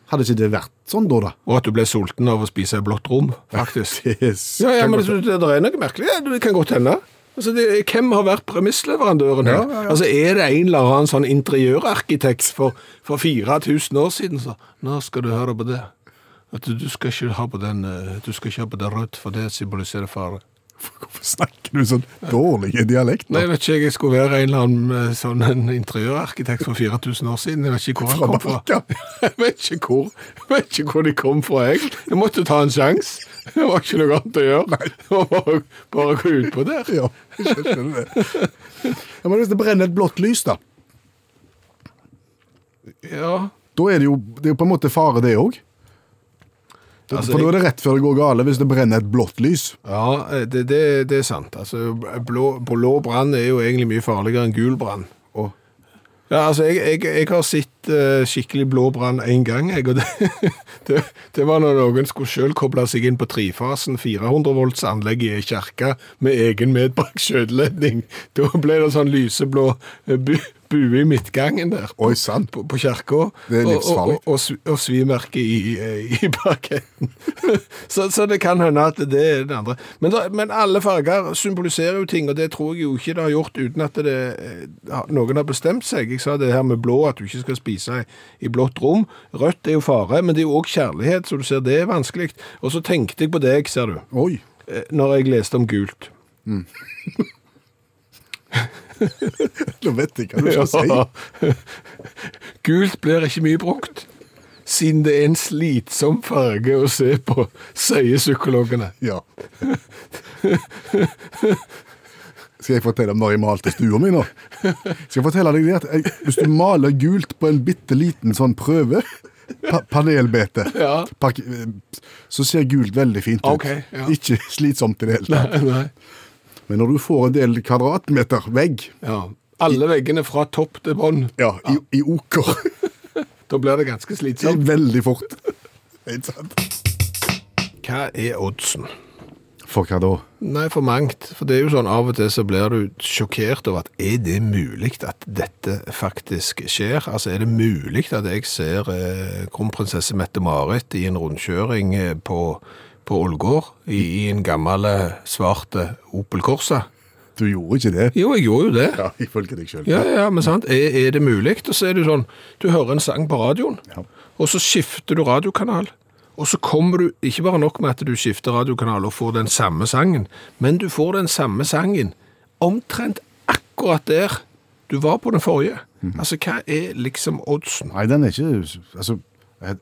C: hadde ikke det vært sånn da? da?
B: Og at du ble sulten av å spise i blått rom, faktisk.
C: Yes.
B: Ja, ja, men det, det, det er noe merkelig. Ja, Det kan godt hende. Altså, det, hvem har vært premissleverandøren her? Altså, er det en eller annen sånn interiørarkitekt for, for 4000 år siden som sa Nå skal du høre på det. At du, du skal ikke ha på den eh, Du skal ikke ha på det rødt, for det symboliserer fare.
C: Hvorfor snakker du sånn dårlig dialekt?
B: Nei, jeg vet ikke, jeg skulle være en eller annen eh, sånn en interiørarkitekt for 4000 år siden. Jeg vet ikke hvor han
C: Fra
B: kom fra.
C: Balkan.
B: Jeg vet ikke hvor, jeg vet ikke hvor de kom fra, jeg. Jeg måtte ta en sjans. Det var ikke noe annet å gjøre. Og bare, bare gå utpå der.
C: Ja, jeg skjønner det. Ja, men Hvis det brenner et blått lys, da
B: Ja,
C: da er det jo det er jo på en måte fare, det òg.
B: Altså,
C: For da er det rett før det går gale, hvis det brenner et blått lys.
B: ja eh, det, det, det er sant. Altså, blå, blå brann er jo egentlig mye farligere enn gul brann.
C: Og
B: Ja, altså, jeg, jeg, jeg har sett eh, skikkelig blå brann én gang. Jeg, og det, det, det var når noen skulle sjøl koble seg inn på trefasen 400 volts anlegg i ei kirke med egen medbrakt skjøteledning. Da ble det sånn lyseblå eh, bu, bue i midtgangen der.
C: Oi, sann.
B: På, på kirka.
C: Det er
B: Og-
C: livsfarlig.
B: Og, og, og, svi- og svimerke i, eh, i parketten. så, så det kan hende at det er det andre. Men, da, men alle farger symboliserer jo ting, og det tror jeg jo ikke det har gjort uten at det, eh, ha- noen har bestemt seg. Jeg sa det her med blå, at du ikke skal spise i, i blått rom. Rødt er jo fare, men det er jo òg kjærlighet, så du ser det er vanskelig. Og så tenkte jeg på deg, ser du
C: Oi.
B: eh, når jeg leste om gult.
C: Nå vet jeg hva du skal si.
B: Gult blir ikke mye brukt, siden det er en slitsom farge å se på, sier psykologene.
C: Ja. Skal jeg fortelle om når jeg malte stua mi nå? Skal jeg fortelle deg det at jeg, Hvis du maler gult på en bitte liten sånn prøve, pa panelbete,
B: Ja.
C: pak- eh, så ser gult veldig fint ut.
B: Ok, ja.
C: Ikke slitsomt i det hele tatt.
B: Nei.
C: Men når du får en del kvadratmeter vegg
B: Ja. Alle veggene fra topp til bånn.
C: ja, i, i oker,
B: Da blir det ganske
C: det er
B: slitsomt.
C: veldig fort. Helt sant.
B: Hva er oddsen?
C: For hva da?
B: Nei, for mangt. For det er jo sånn av og til så blir du sjokkert over at er det mulig at dette faktisk skjer? Altså, er det mulig at jeg ser eh, kronprinsesse Mette-Marit i en rundkjøring eh, på, på Ålgård i, i en gammel eh, svarte Opel Corsa?
C: Du gjorde ikke det?
B: Jo, jeg gjorde jo det.
C: Ja, ifølge deg sjøl.
B: Ja, ja, men sant. Er, er det mulig? Og så er det jo sånn, du hører en sang på radioen,
C: Ja.
B: og så skifter du radiokanal. Og så kommer du, ikke bare nok med at du skifter radiokanal og får den samme sangen, men du får den samme sangen omtrent akkurat der du var på den forrige.
C: Mhm.
B: Altså, hva er liksom oddsen?
C: Nei, den er ikke Altså, jeg,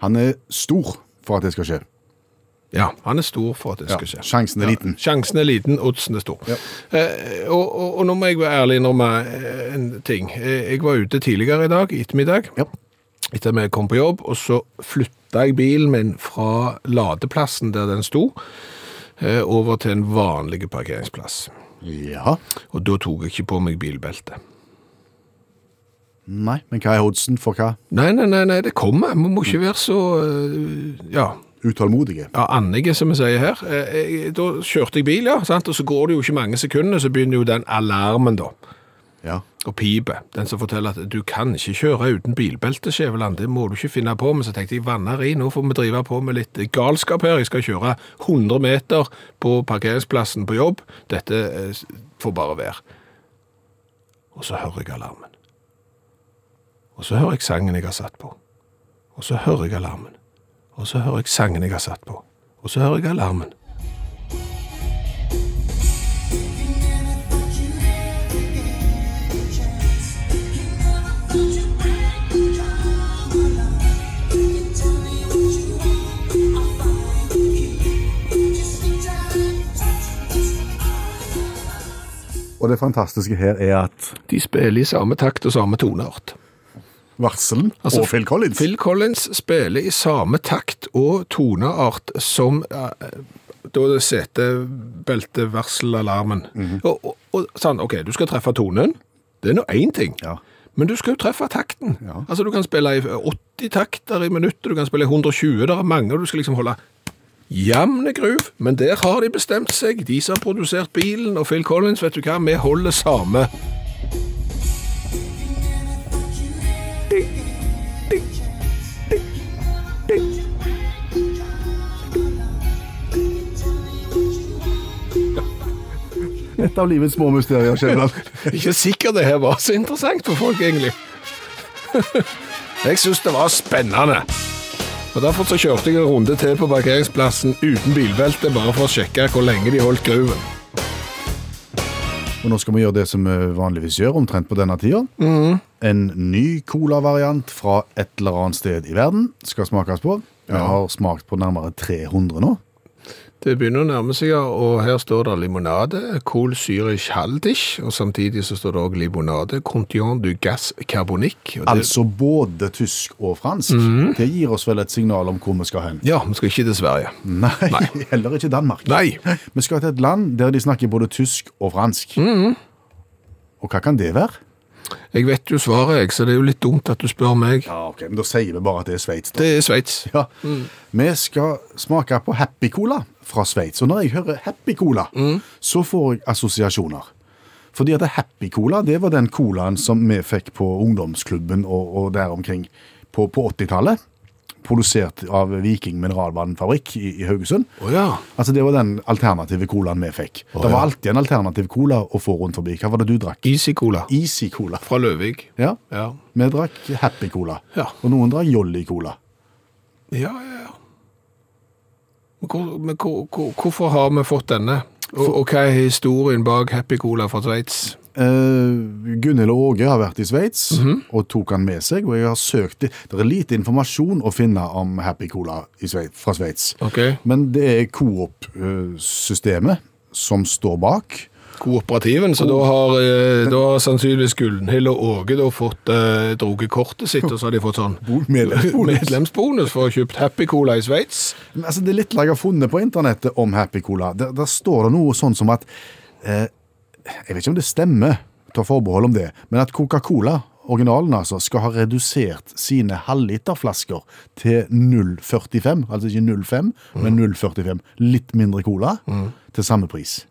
C: han er stor for at det skal skje.
B: Ja, han er stor for at det
C: Ja,
B: skal skje.
C: sjansen er liten.
B: Sjansen er liten, oddsen er stor. Eh, og, og, og nå må jeg være ærlig innrømme eh, en ting. Eh, Jeg var ute tidligere i dag, i ettermiddag,
C: Ja.
B: etter at jeg kom på jobb, og så flytta jeg bilen min fra ladeplassen der den sto, eh, over til en vanlig parkeringsplass.
C: ja.
B: Og da tok jeg ikke på meg bilbelte.
C: Nei, men hva er oddsen for hva?
B: Nei, nei, nei, nei det kommer. Vi må ikke være så eh, Ja.
C: Utålmodige.
B: ja, Annige, som vi sier her. Eh, jeg- Da kjørte jeg bil, ja, sant? og så går det jo ikke mange sekundene, så begynner jo den alarmen, da.
C: Ja.
B: Og pipe, den som forteller at du kan ikke kjøre uten bilbelte, Skjæveland, det må du ikke finne på. Men så tenkte jeg, vanneri, nå får vi drive på med litt galskap her. Jeg skal kjøre 100 meter på parkeringsplassen på jobb. Dette eh, s- får bare være. Og så hører jeg alarmen. Og så hører jeg sangen jeg har satt på. Og så hører jeg alarmen. Og så hører jeg sangen jeg har satt på. Og så hører jeg alarmen.
C: Og det fantastiske her er at
B: De spiller i samme takt og samme toneart.
C: varselen
B: Altså,
C: og Phil Collins
B: Phil Collins spiller i samme takt og toneart som eh, da er det setebeltevarselalarmen.
C: Mhm.
B: og, og, og sånn, OK, du skal treffe tonen. Det er nå én ting.
C: Ja.
B: Men du skal jo treffe takten. Altså, Du kan spille i 80 takter i minuttet, du kan spille i 120, det er mange, og du skal liksom holde jevne gruv. Men der har de bestemt seg, de som har produsert bilen, og Phil Collins, vet du hva, vi holder samme.
C: Et av livets små mysterier, Skjæveland.
B: Ikke sikkert det her var så interessant for folk, egentlig. Jeg syns det var spennende. Og Derfor så kjørte jeg en runde til på parkeringsplassen uten bilbelte, bare for å sjekke hvor lenge de holdt gruven.
C: Og nå skal vi gjøre det som vi vanligvis gjør omtrent på denne tida. En ny colavariant fra et eller annet sted i verden skal smakes på. Vi har smakt på nærmere 300 nå.
B: Det begynner å nærme seg, ja, og her står det limonade, Kohl Zürich Haldisch, og samtidig så står det også limonade, Contion du Gas Carbonique. og det-
C: Altså både tysk og fransk. Det gir oss vel et signal om hvor vi skal hen.
B: Ja, vi skal ikke til Sverige.
C: Nei, heller ikke Danmark.
B: Nei,
C: Vi skal til et land der de snakker både tysk og fransk. Og hva kan det være?
B: jeg vet jo svaret, jeg, så det er jo litt dumt at du spør meg.
C: Ja, ok, men Da sier vi bare at det er Sveits.
B: Det er Sveits.
C: Ja. Vi skal smake på Happy Cola fra Sveits. Og når jeg hører Happy Cola, så får jeg assosiasjoner. Fordi at Happy Cola det var den colaen som vi fikk på ungdomsklubben og, og der omkring på, på 80-tallet. Produsert av Viking mineralvannfabrikk i, i Haugesund.
B: Å ja.
C: Altså Det var den alternative colaen vi fikk. det var alltid en alternativ cola å få rundt forbi. Hva var det du drakk?
B: Easy Cola
C: Easy Cola.
B: fra Løvik.
C: Ja.
B: Ja.
C: Vi drakk Happy Cola.
B: Ja.
C: Og noen drakk Jolly Cola.
B: Ja, ja, ja. Men, hvor, men hvor, hvor, hvorfor har vi fått denne? Og, og hva er historien bak Happy Cola fra Sveits?
C: Uh, Gunhild og Åge har vært i Sveits
B: Mhm.
C: og tok han med seg. Og jeg har søkt Det Det er lite informasjon å finne om Happy Cola i Sveits, fra Sveits.
B: Ok,
C: Men det er Coop-systemet som står bak.
B: kooperativen, så da har, eh, da har sannsynligvis Gullhild og Åge da fått eh, droget kortet sitt, og så har de fått sånn
C: Bo- medlemsbonus.
B: medlemsbonus for å ha kjøpt Happy Cola i Sveits.
C: Men altså, det er litt jeg har funnet på internettet om Happy Cola. Der, der står det noe sånn som at eh, Jeg vet ikke om det stemmer, ta forbehold om det, men at Coca-Cola, originalen altså, skal ha redusert sine halvliterflasker til 0,45. Altså ikke 0,5, men 0,45. Litt mindre cola til samme pris.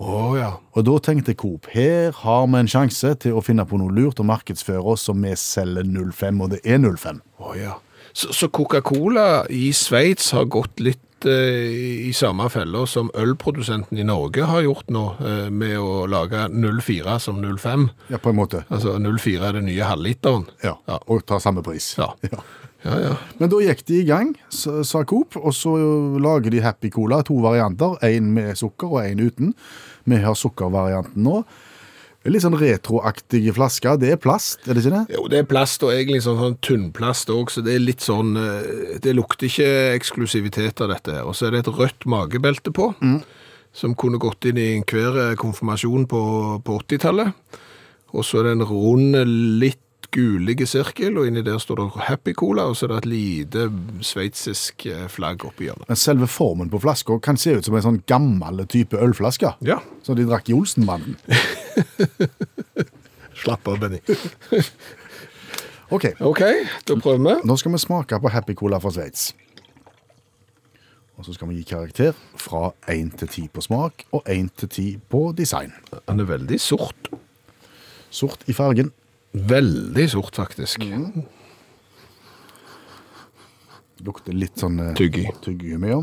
B: Å ja.
C: Og da tenkte Coop her har vi en sjanse til å finne på noe lurt og markedsføre oss som vi selger 0,5, og det er 0,5.
B: Å, ja. Så, så Coca-Cola i Sveits har gått litt eh, i samme fella som ølprodusenten i Norge har gjort nå, eh, med å lage 04 som 05.
C: Ja, på en måte.
B: Altså 04 er det nye halvliteren.
C: Ja,
B: Ja.
C: Og tar samme pris.
B: Ja.
C: ja.
B: Ja, ja.
C: Men da gikk de i gang, s- sa Coop, og så lager de Happy Cola, to varianter, en med sukker og en uten. Vi har sukkervarianten nå. Litt sånn retroaktige flasker, det er plast, er det ikke det?
B: Jo, det er plast, og egentlig sånn, sånn tynnplast òg, så det er litt sånn eh, Det lukter ikke eksklusivitet av dette her. Og så er det et rødt magebelte på, som kunne gått inn i enhver eh, konfirmasjon på, på 80-tallet. Og så er det en rund, litt gulige sirkel, og inni der står det Happy Cola, og så er det et lite sveitsisk eh, flagg oppi hjørnet.
C: Men selve formen på flasker kan se ut som en sånn gammel type ølflaske.
B: Ja.
C: Som de drakk i Olsenbanden.
B: Slapp av, Benny.
C: Ok,
B: OK, da prøver vi.
C: nå skal vi smake på Happy Cola fra Sveits. Og så skal vi gi karakter fra 1 til 10 på smak, og 1 til 10 på design.
B: Han er veldig sort.
C: Sort i fargen.
B: Veldig sort, faktisk.
C: Lukter litt sånn eh,
B: Tyggi.
C: tyggegummi. Ja.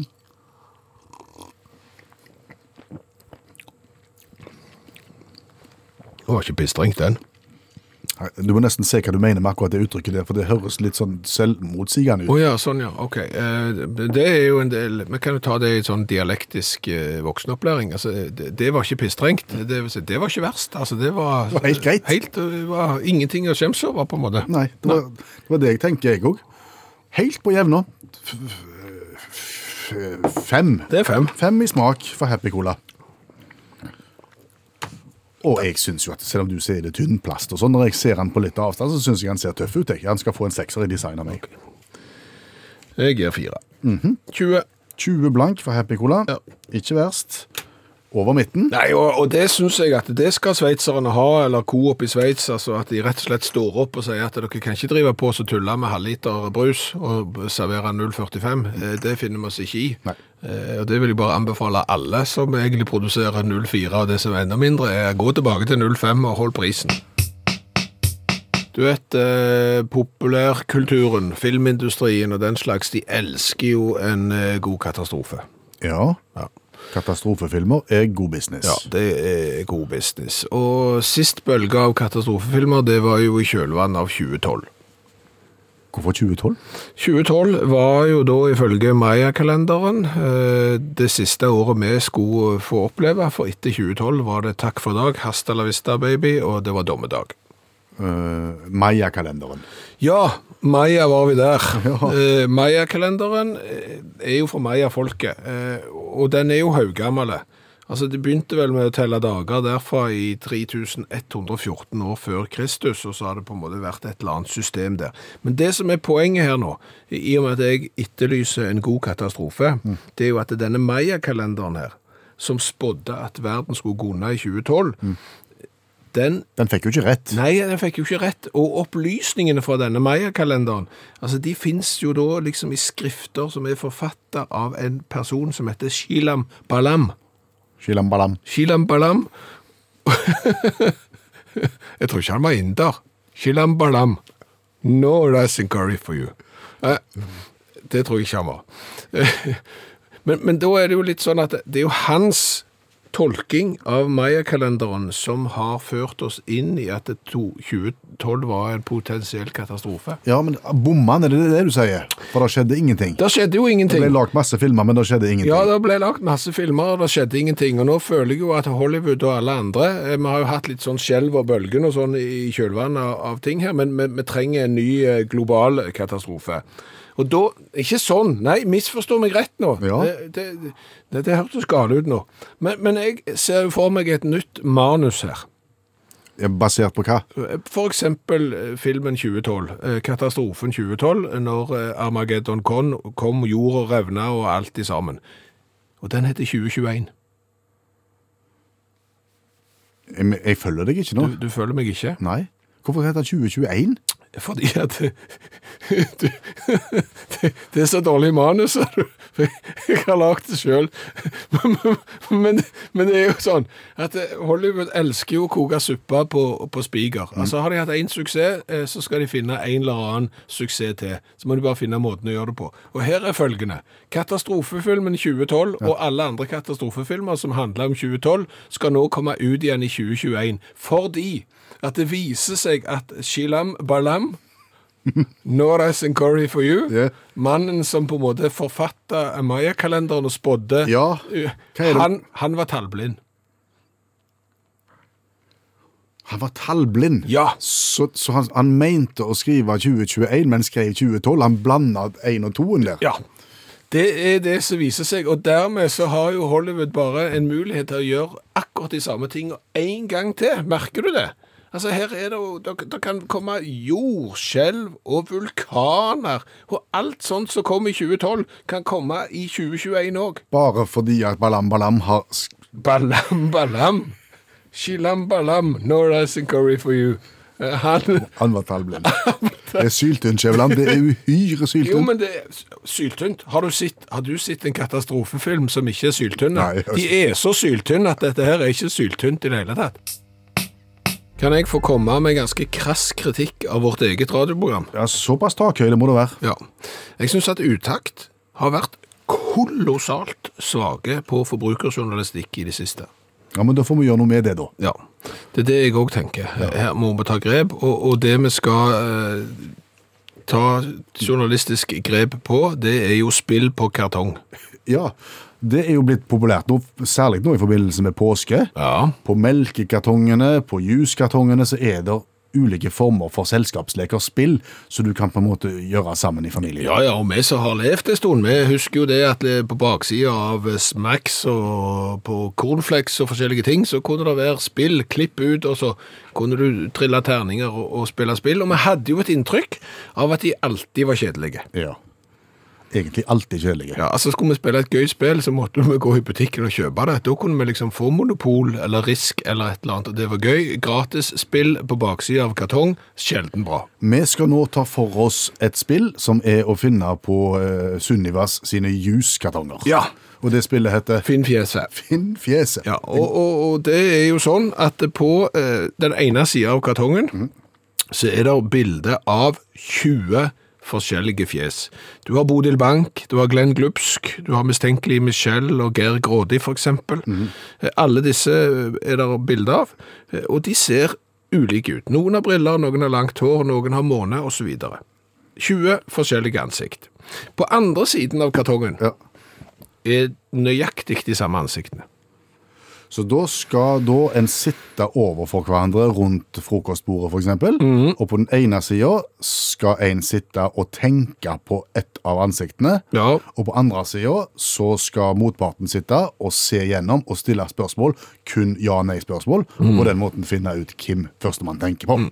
B: Det var ikke pissdrengt, den.
C: Nei, Du må nesten se hva du mener med akkurat det uttrykket der, for det høres litt sånn selvmotsigende
B: Å
C: ut.
B: ja, sånn ja, ok. Eh, Det er jo en del, vi kan jo ta det i sånn dialektisk eh, voksenopplæring. Altså, det, det var ikke pissstrengt, det, vil si, det var ikke verst. Altså, det var,
C: var helt greit.
B: Helt, det var ingenting å skjemmes over, på en måte.
C: Nei, det var, det var det jeg tenker, jeg òg. Helt på jevna. F- f- f- Fem.
B: Det er fem.
C: Fem i smak for Happy Cola. Og jeg syns jo at selv om du sier det er tynn plast og sånn, når jeg ser han på litt avstand, så syns jeg han ser tøff ut. Jeg. Han skal få en sekser i design av meg.
B: Mhm. Jeg gir fire. 20.
C: 20 blank for Happy Cola.
B: Ja.
C: Ikke verst. Over midten.
B: Nei, og, og det syns jeg at det skal sveitserne ha, eller Coop i Sveits. Altså at de rett og slett står opp og sier at dere kan ikke drive på og så tulle med halvliter brus og servere 0,45. Eh, Det finner vi oss ikke i.
C: Nei.
B: Eh, Og Det vil jeg bare anbefale alle som egentlig produserer 0,4 og det som er enda mindre, er gå tilbake til 0,5 og hold prisen. Du vet, eh, populærkulturen, filmindustrien og den slags, de elsker jo en eh, god katastrofe.
C: Ja.
B: Ja.
C: Katastrofefilmer er god business.
B: Ja, det er god business. Og sist bølge av katastrofefilmer, det var jo i kjølvannet av 2012.
C: Hvorfor 2012?
B: 2012 var jo da ifølge Maya-kalenderen eh, det siste året vi skulle få oppleve, for etter 2012 var det takk for dag, hasta la vista baby, og det var dommedag.
C: Uh, Maya-kalenderen.
B: Ja, Maya var vi der. Eh, Maya-kalenderen eh, er jo fra Maya-folket, eh, og den er jo haugammel. Altså, det begynte vel med å telle dager derfra i 3114 år før Kristus, og så har det på en måte vært et eller annet system der. Men det som er poenget her nå, i og med at jeg etterlyser en god katastrofe, det er jo at denne Maya-kalenderen her, som spådde at verden skulle gå unna i 2012, den
C: Den fikk jo ikke rett.
B: Nei, den fikk jo ikke rett. Og opplysningene fra denne Maya-kalenderen, altså de finnes jo da liksom i skrifter som er forfattet av en person som heter Shilam Balam.
C: Shilambalam.
B: Shilam Balam. Jeg tror ikke han var inder. Shilam Balam. No rice and curry for you. Eh, Det tror jeg ikke han var. Men, men da er det jo litt sånn at det er jo hans tolking av Maya-kalenderen som har ført oss inn i at det to- 2012 var en potensiell katastrofe.
C: Ja, men bomma han, er det det du sier? For det skjedde ingenting.
B: Det skjedde jo
C: Det ble
B: ingenting.
C: lagt masse filmer, men det skjedde ingenting.
B: Ja, det ble lagt masse filmer, og det skjedde ingenting. Og nå føler jeg jo at Hollywood og alle andre eh, Vi har jo hatt litt sånn skjelv og bølgen og sånn i kjølvannet av, av ting her, men vi, vi trenger en ny eh, global katastrofe. Og da Ikke sånn, nei, misforstå meg rett nå.
C: Ja.
B: Det, det, det, det hørtes gale ut nå. Men, men jeg ser jo for meg et nytt manus her.
C: Ja, Basert på hva?
B: For eksempel eh, filmen 2012, eh, katastrofen 2012, når eh, Armageddon kom, kom jord og revna og alt i sammen. Og den heter 2021.
C: Jeg, jeg følger deg ikke nå.
B: Du, du føler meg ikke?
C: Nei. Hvorfor heter han 2021?
B: Fordi at du, det, det er så dårlig manus, sa du. Jeg har lagd det sjøl. Men, men det er jo sånn at Hollywood elsker jo å koke suppe på, på spiker. Altså Har de hatt én suksess, eh, så skal de finne en eller annen suksess til. Så må de bare finne måten å gjøre det på. Og her er følgende. Katastrofefilmen 2012 og alle andre katastrofefilmer som handler om 2012, skal nå komme ut igjen i 2021. Fordi at det viser seg at Shilam Balam No rice and curry for you.
C: Ja.
B: Mannen som på en måte forfatta Maya-kalenderen og spådde eh,
C: Ja. Hva er det?
B: han, han var tallblind.
C: Han var tallblind.
B: Ja.
C: Så, så han, han mente å skrive 2021, men skrev 2012. Han blanda én og toen der.
B: Ja. Det er det som viser seg, og dermed så har jo Hollywood bare en mulighet til å gjøre akkurat de samme tingene en gang til. Merker du det? Altså her er det jo, det, det kan komme jordskjelv og vulkaner, og alt sånt som kom i 2012 kan komme i 2021 òg.
C: Bare fordi at Balam Balam har sk-
B: Balam Balam. Shilam Balam, no rice and curry for you. Eh, Han
C: Han var tallblind. Det er syltynt, Skjæveland. Det er uhyre
B: Jo,
C: syltynt.
B: men det er syltynt. Har du, sett, har du sett en katastrofefilm som ikke er syltynn?
C: Nei, jeg har
B: De er så syltynne at dette her er ikke syltynt i det hele tatt. Kan jeg få komme med ganske krass kritikk av vårt eget radioprogram?
C: Ja, såpass takhøyde må det være.
B: Ja. Jeg syns at Utakt har vært kolossalt svake på forbrukerjournalistikk i det siste.
C: Ja, Men da får vi gjøre noe med det, da.
B: Ja, det er det jeg òg tenker. Her må vi ta grep, og, og det vi skal eh, ta journalistisk grep på, det er jo spill på kartong.
C: Ja, Det er jo blitt populært nå, særlig nå i forbindelse med påske.
B: Ja.
C: På melkekartongene, på juskartongene, så er det ulike former for selskapsleker, spill, så du kan på en måte gjøre sammen i familien.
B: Ja, ja, og vi som har levd en stund, vi husker jo det at eh, på baksida av Smacks og på Cornflakes og forskjellige ting, så kunne det være spill, klipp ut, og så kunne du trille terninger og, og spille spill. Og vi hadde jo et inntrykk av at de alltid var kjedelige.
C: Ja. egentlig alltid kjedelige.
B: Ja, altså Skulle vi spille et gøy spill, så måtte vi gå i butikken og kjøpe det. Da kunne vi liksom få Monopol eller Risk eller et eller annet, og det var gøy. Gratis spill på baksida av kartong, sjelden bra.
C: Vi skal nå ta for oss et spill som er å finne på eh, Sunnivas sine juskartonger.
B: Ja.
C: Og det spillet heter
B: Finn fjes her.
C: Finn fjeset.
B: Ja, og, og, og det er jo sånn at på eh, den ene sida av kartongen så er det bilde av 20 forskjellige fjes. Du har Bodil Bank, du har Glenn Glupsk, du har mistenkelig Michelle og Geir Grådig for eksempel. Eh, Alle disse eh, er det bilde av, eh, og de ser ulike ut. Noen har briller, noen har langt hår, noen har måne og så videre. 20 forskjellige ansikt. På andre siden av kartongen
C: Ja.
B: er nøyaktig de samme ansiktene.
C: Så da skal da en sitte overfor hverandre rundt frokostbordet, f.eks. eksempel
B: Mhm.
C: Og på den ene sida skal en sitte og tenke på ett av ansiktene.
B: Ja,
C: Og på andre sida så skal motparten sitte og se gjennom og stille spørsmål. Kun ja-nei-spørsmål.
B: Mhm.
C: Og på den måten finne ut hvem førstemann tenker
B: Mm.
C: på.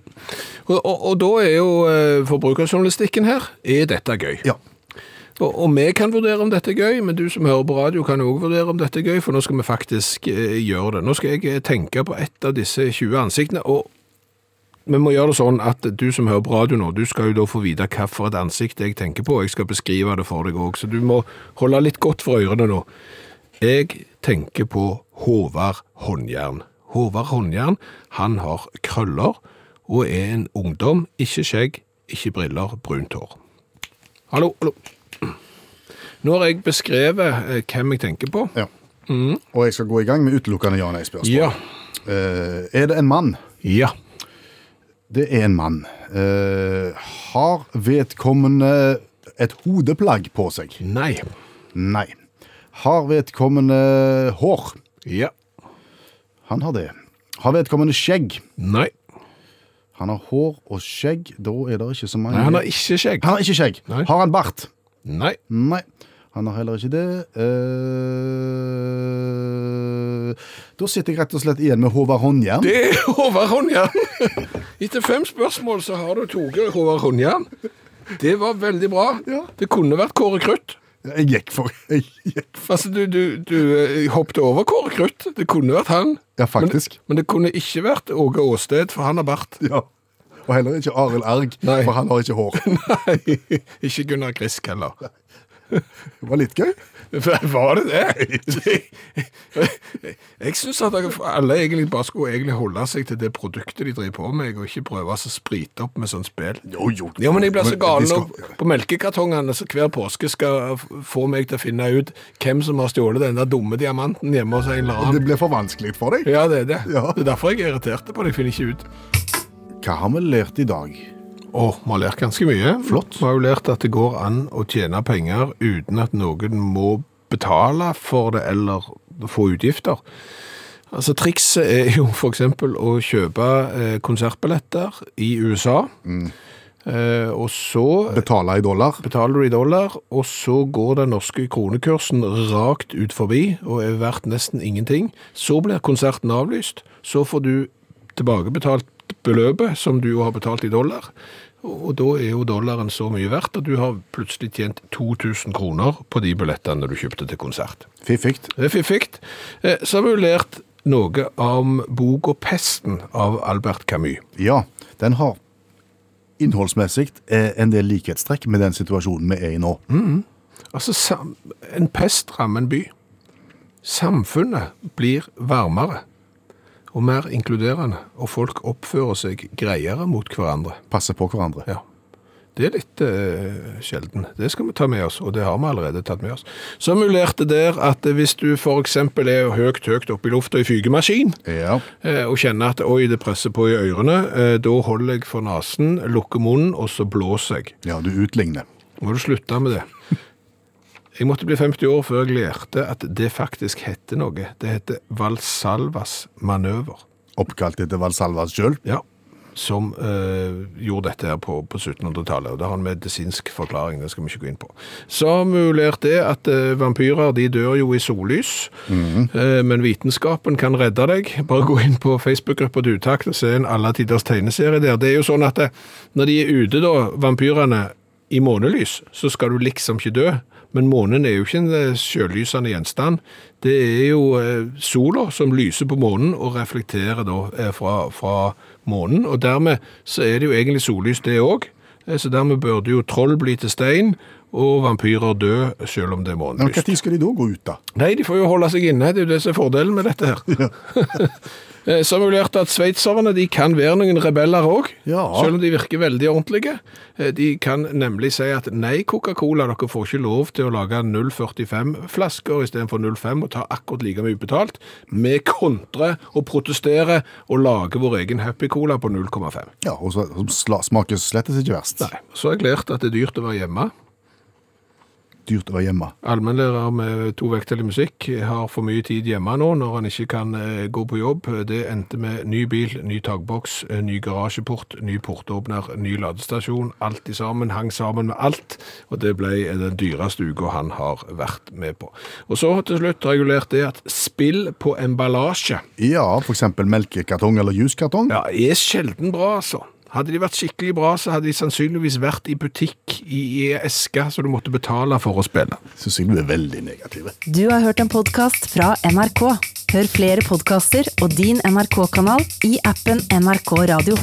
B: Og, og, og da er jo eh, forbrukerjournalistikken her er dette gøy.
C: Ja.
B: Og, og vi kan vurdere om dette er gøy, men du som hører på radio kan òg vurdere om dette er gøy, for nå skal vi faktisk eh, gjøre det. Nå skal jeg eh, tenke på ett av disse 20 ansiktene. og vi må gjøre det sånn at du som hører på radio nå, du skal jo da få vite hva for et ansikt jeg tenker på, og jeg skal beskrive det for deg òg, så du må holde litt godt for ørene nå. Jeg tenker på Håvard Håndjern. Håvard Håndjern, han har krøller, og er en ungdom, ikke skjegg, ikke briller, brunt hår. Hallo, hallo. Nå har jeg beskrevet eh, hvem jeg tenker på.
C: ja. Og jeg skal gå i gang med utelukkende ja-nei-spørsmål.
B: Mhm. Ja.
C: Eh, er det en mann?
B: Ja.
C: Det er en mann. Eh, har vedkommende et hodeplagg på seg?
B: Nei.
C: Nei. Har vedkommende hår?
B: Ja.
C: Han har det. Har vedkommende skjegg?
B: Nei.
C: Han har hår og skjegg. Da er det ikke så mange
B: Nei, han har ikke skjegg.
C: Han har ikke skjegg.
B: Nei.
C: Har han bart?
B: Nei.
C: Nei. Han har heller ikke det. Eh, da sitter jeg rett og slett igjen med Håvard Håndjern.
B: Det er Håvard Håndjern. Etter fem spørsmål så har du tatt Håvard Håndjern. Det var veldig bra.
C: Ja.
B: Det kunne vært Kåre Krutt.
C: Jeg gikk for jeg gikk.
B: Altså, du, du, du eh, hoppet over Kåre Krutt. Det kunne vært han.
C: Ja, faktisk.
B: Men, men det kunne ikke vært Åge Åsted, for han har bart.
C: Ja. Og heller ikke Arild Erg,
B: Nei.
C: for han har ikke hår.
B: Nei, ikke Gunnar Grisk heller.
C: Det var litt gøy.
B: Var det det? Jeg syns at alle egentlig bare skulle egentlig holde seg til det produktet de driver på med, og ikke prøve å sprite opp med sånt spill.
C: Jo, jo.
B: Ja, men jeg blir så
C: Men
B: gal
C: de skal-
B: nå på melkekartongene som hver påske skal f- få meg til å finne ut hvem som har stjålet den der dumme diamanten hjemme hos en eller
C: Det
B: annen.
C: blir for vanskelig for deg.
B: Ja, det er det.
C: Ja.
B: Det er derfor jeg er irritert på det. Jeg finner ikke ut.
C: Hva har vi lært i dag?
B: Å, vi har lært ganske mye.
C: Flott.
B: Vi har jo lært at det går an å tjene penger uten at noen må betale for det eller få utgifter. Altså, trikset er jo for eksempel å kjøpe eh, konsertbilletter i USA, eh, og så
C: Betale Mm. i dollar?
B: betaler du i dollar, og så går den norske kronekursen rakt ut forbi, og er verdt nesten ingenting. Så blir konserten avlyst, så får du tilbakebetalt beløpet som du jo har betalt i dollar, og da er jo dollaren så mye verdt, at du har plutselig tjent 2000 kroner på de billettene du kjøpte til konsert.
C: Fiffig.
B: Det er fiffig. Eh, Så har vi jo lært noe om bok og pesten av Albert Camus.
C: Ja, den har innholdsmessig eh, en del likhetstrekk med den situasjonen vi er i nå.
B: Altså, sam en pest rammer en by. Samfunnet blir varmere og mer inkluderende, og folk oppfører seg greiere mot hverandre.
C: Passe på hverandre.
B: Ja. Det er litt eh, sjelden. Det skal vi ta med oss, og det har vi allerede tatt med oss. Så mulerte der at hvis du for eksempel er høyt, høyt oppe i lufta i fygemaskin,
C: Ja.
B: eh, og kjenner at oi, det presser på i ørene, eh, da holder jeg for nasen, lukker munnen, og så blåser jeg.
C: ja, du utligner.
B: Må du slutte med det. Jeg måtte bli 50 år før jeg lærte at det faktisk heter noe. Det heter Valsalvas manøver.
C: Oppkalt etter Valsalvas sjøl.
B: Ja. Som eh, gjorde dette her på, på 1700-tallet. Og det har en medisinsk forklaring, det skal vi ikke gå inn på. Så mulerte det at eh, vampyrer de dør jo i sollys, eh, men vitenskapen kan redde deg. Bare gå inn på Facebook-gruppa til Utakt og se en Alle tiders tegneserie der. Det er jo sånn at eh, når de er ute, da, vampyrene i månelys så skal du liksom ikke dø. Men månen er jo ikke en eh, sjøllysende gjenstand. Det er jo eh, sola som lyser på månen og reflekterer da eh, fra, fra månen. Og dermed så er det jo egentlig sollys det òg. Så dermed burde jo troll bli til stein og vampyrer dø selv om det er
C: Men
B: månelyst.
C: Når skal de da gå ut, da?
B: Nei, de får jo holde seg inne. Det er jo det som er fordelen med dette her. Eh, Så har vi lært at sveitserne de kan være noen rebeller òg,
C: Ja.
B: selv om de virker veldig ordentlige. Eh, De kan nemlig si at nei, Coca-Cola, dere får ikke lov til å lage 0,45-flasker istedenfor 0,5 og ta akkurat like mye betalt. Vi kontrer og protesterer og lager vår egen Happy Cola på 0,5.
C: Ja, og så som sla- smaker slettes ikke verst.
B: Nei. Så har jeg lært at det er dyrt å være hjemme.
C: Dyrt å være hjemme.
B: Allmennlærer med to vekttall i musikk har for mye tid hjemme nå når han ikke kan eh, gå på jobb. Det endte med ny bil, ny takboks, eh, ny garasjeport, ny portåpner, ny ladestasjon. Alt i sammen hang sammen med alt, og det ble eh, den dyreste uka han har vært med på. Og så til slutt regulert det at spill på emballasje
C: Ja, f.eks. melkekartong eller juskartong.
B: ja, er sjelden bra, altså. Hadde de vært skikkelig bra, så hadde de sannsynligvis vært i butikk i, i eske, så du måtte betale for å spille.
C: Syns jeg du er veldig negativ.
A: Du har hørt en podkast fra NRK. Hør flere podkaster og din NRK-kanal i appen NRK Radio.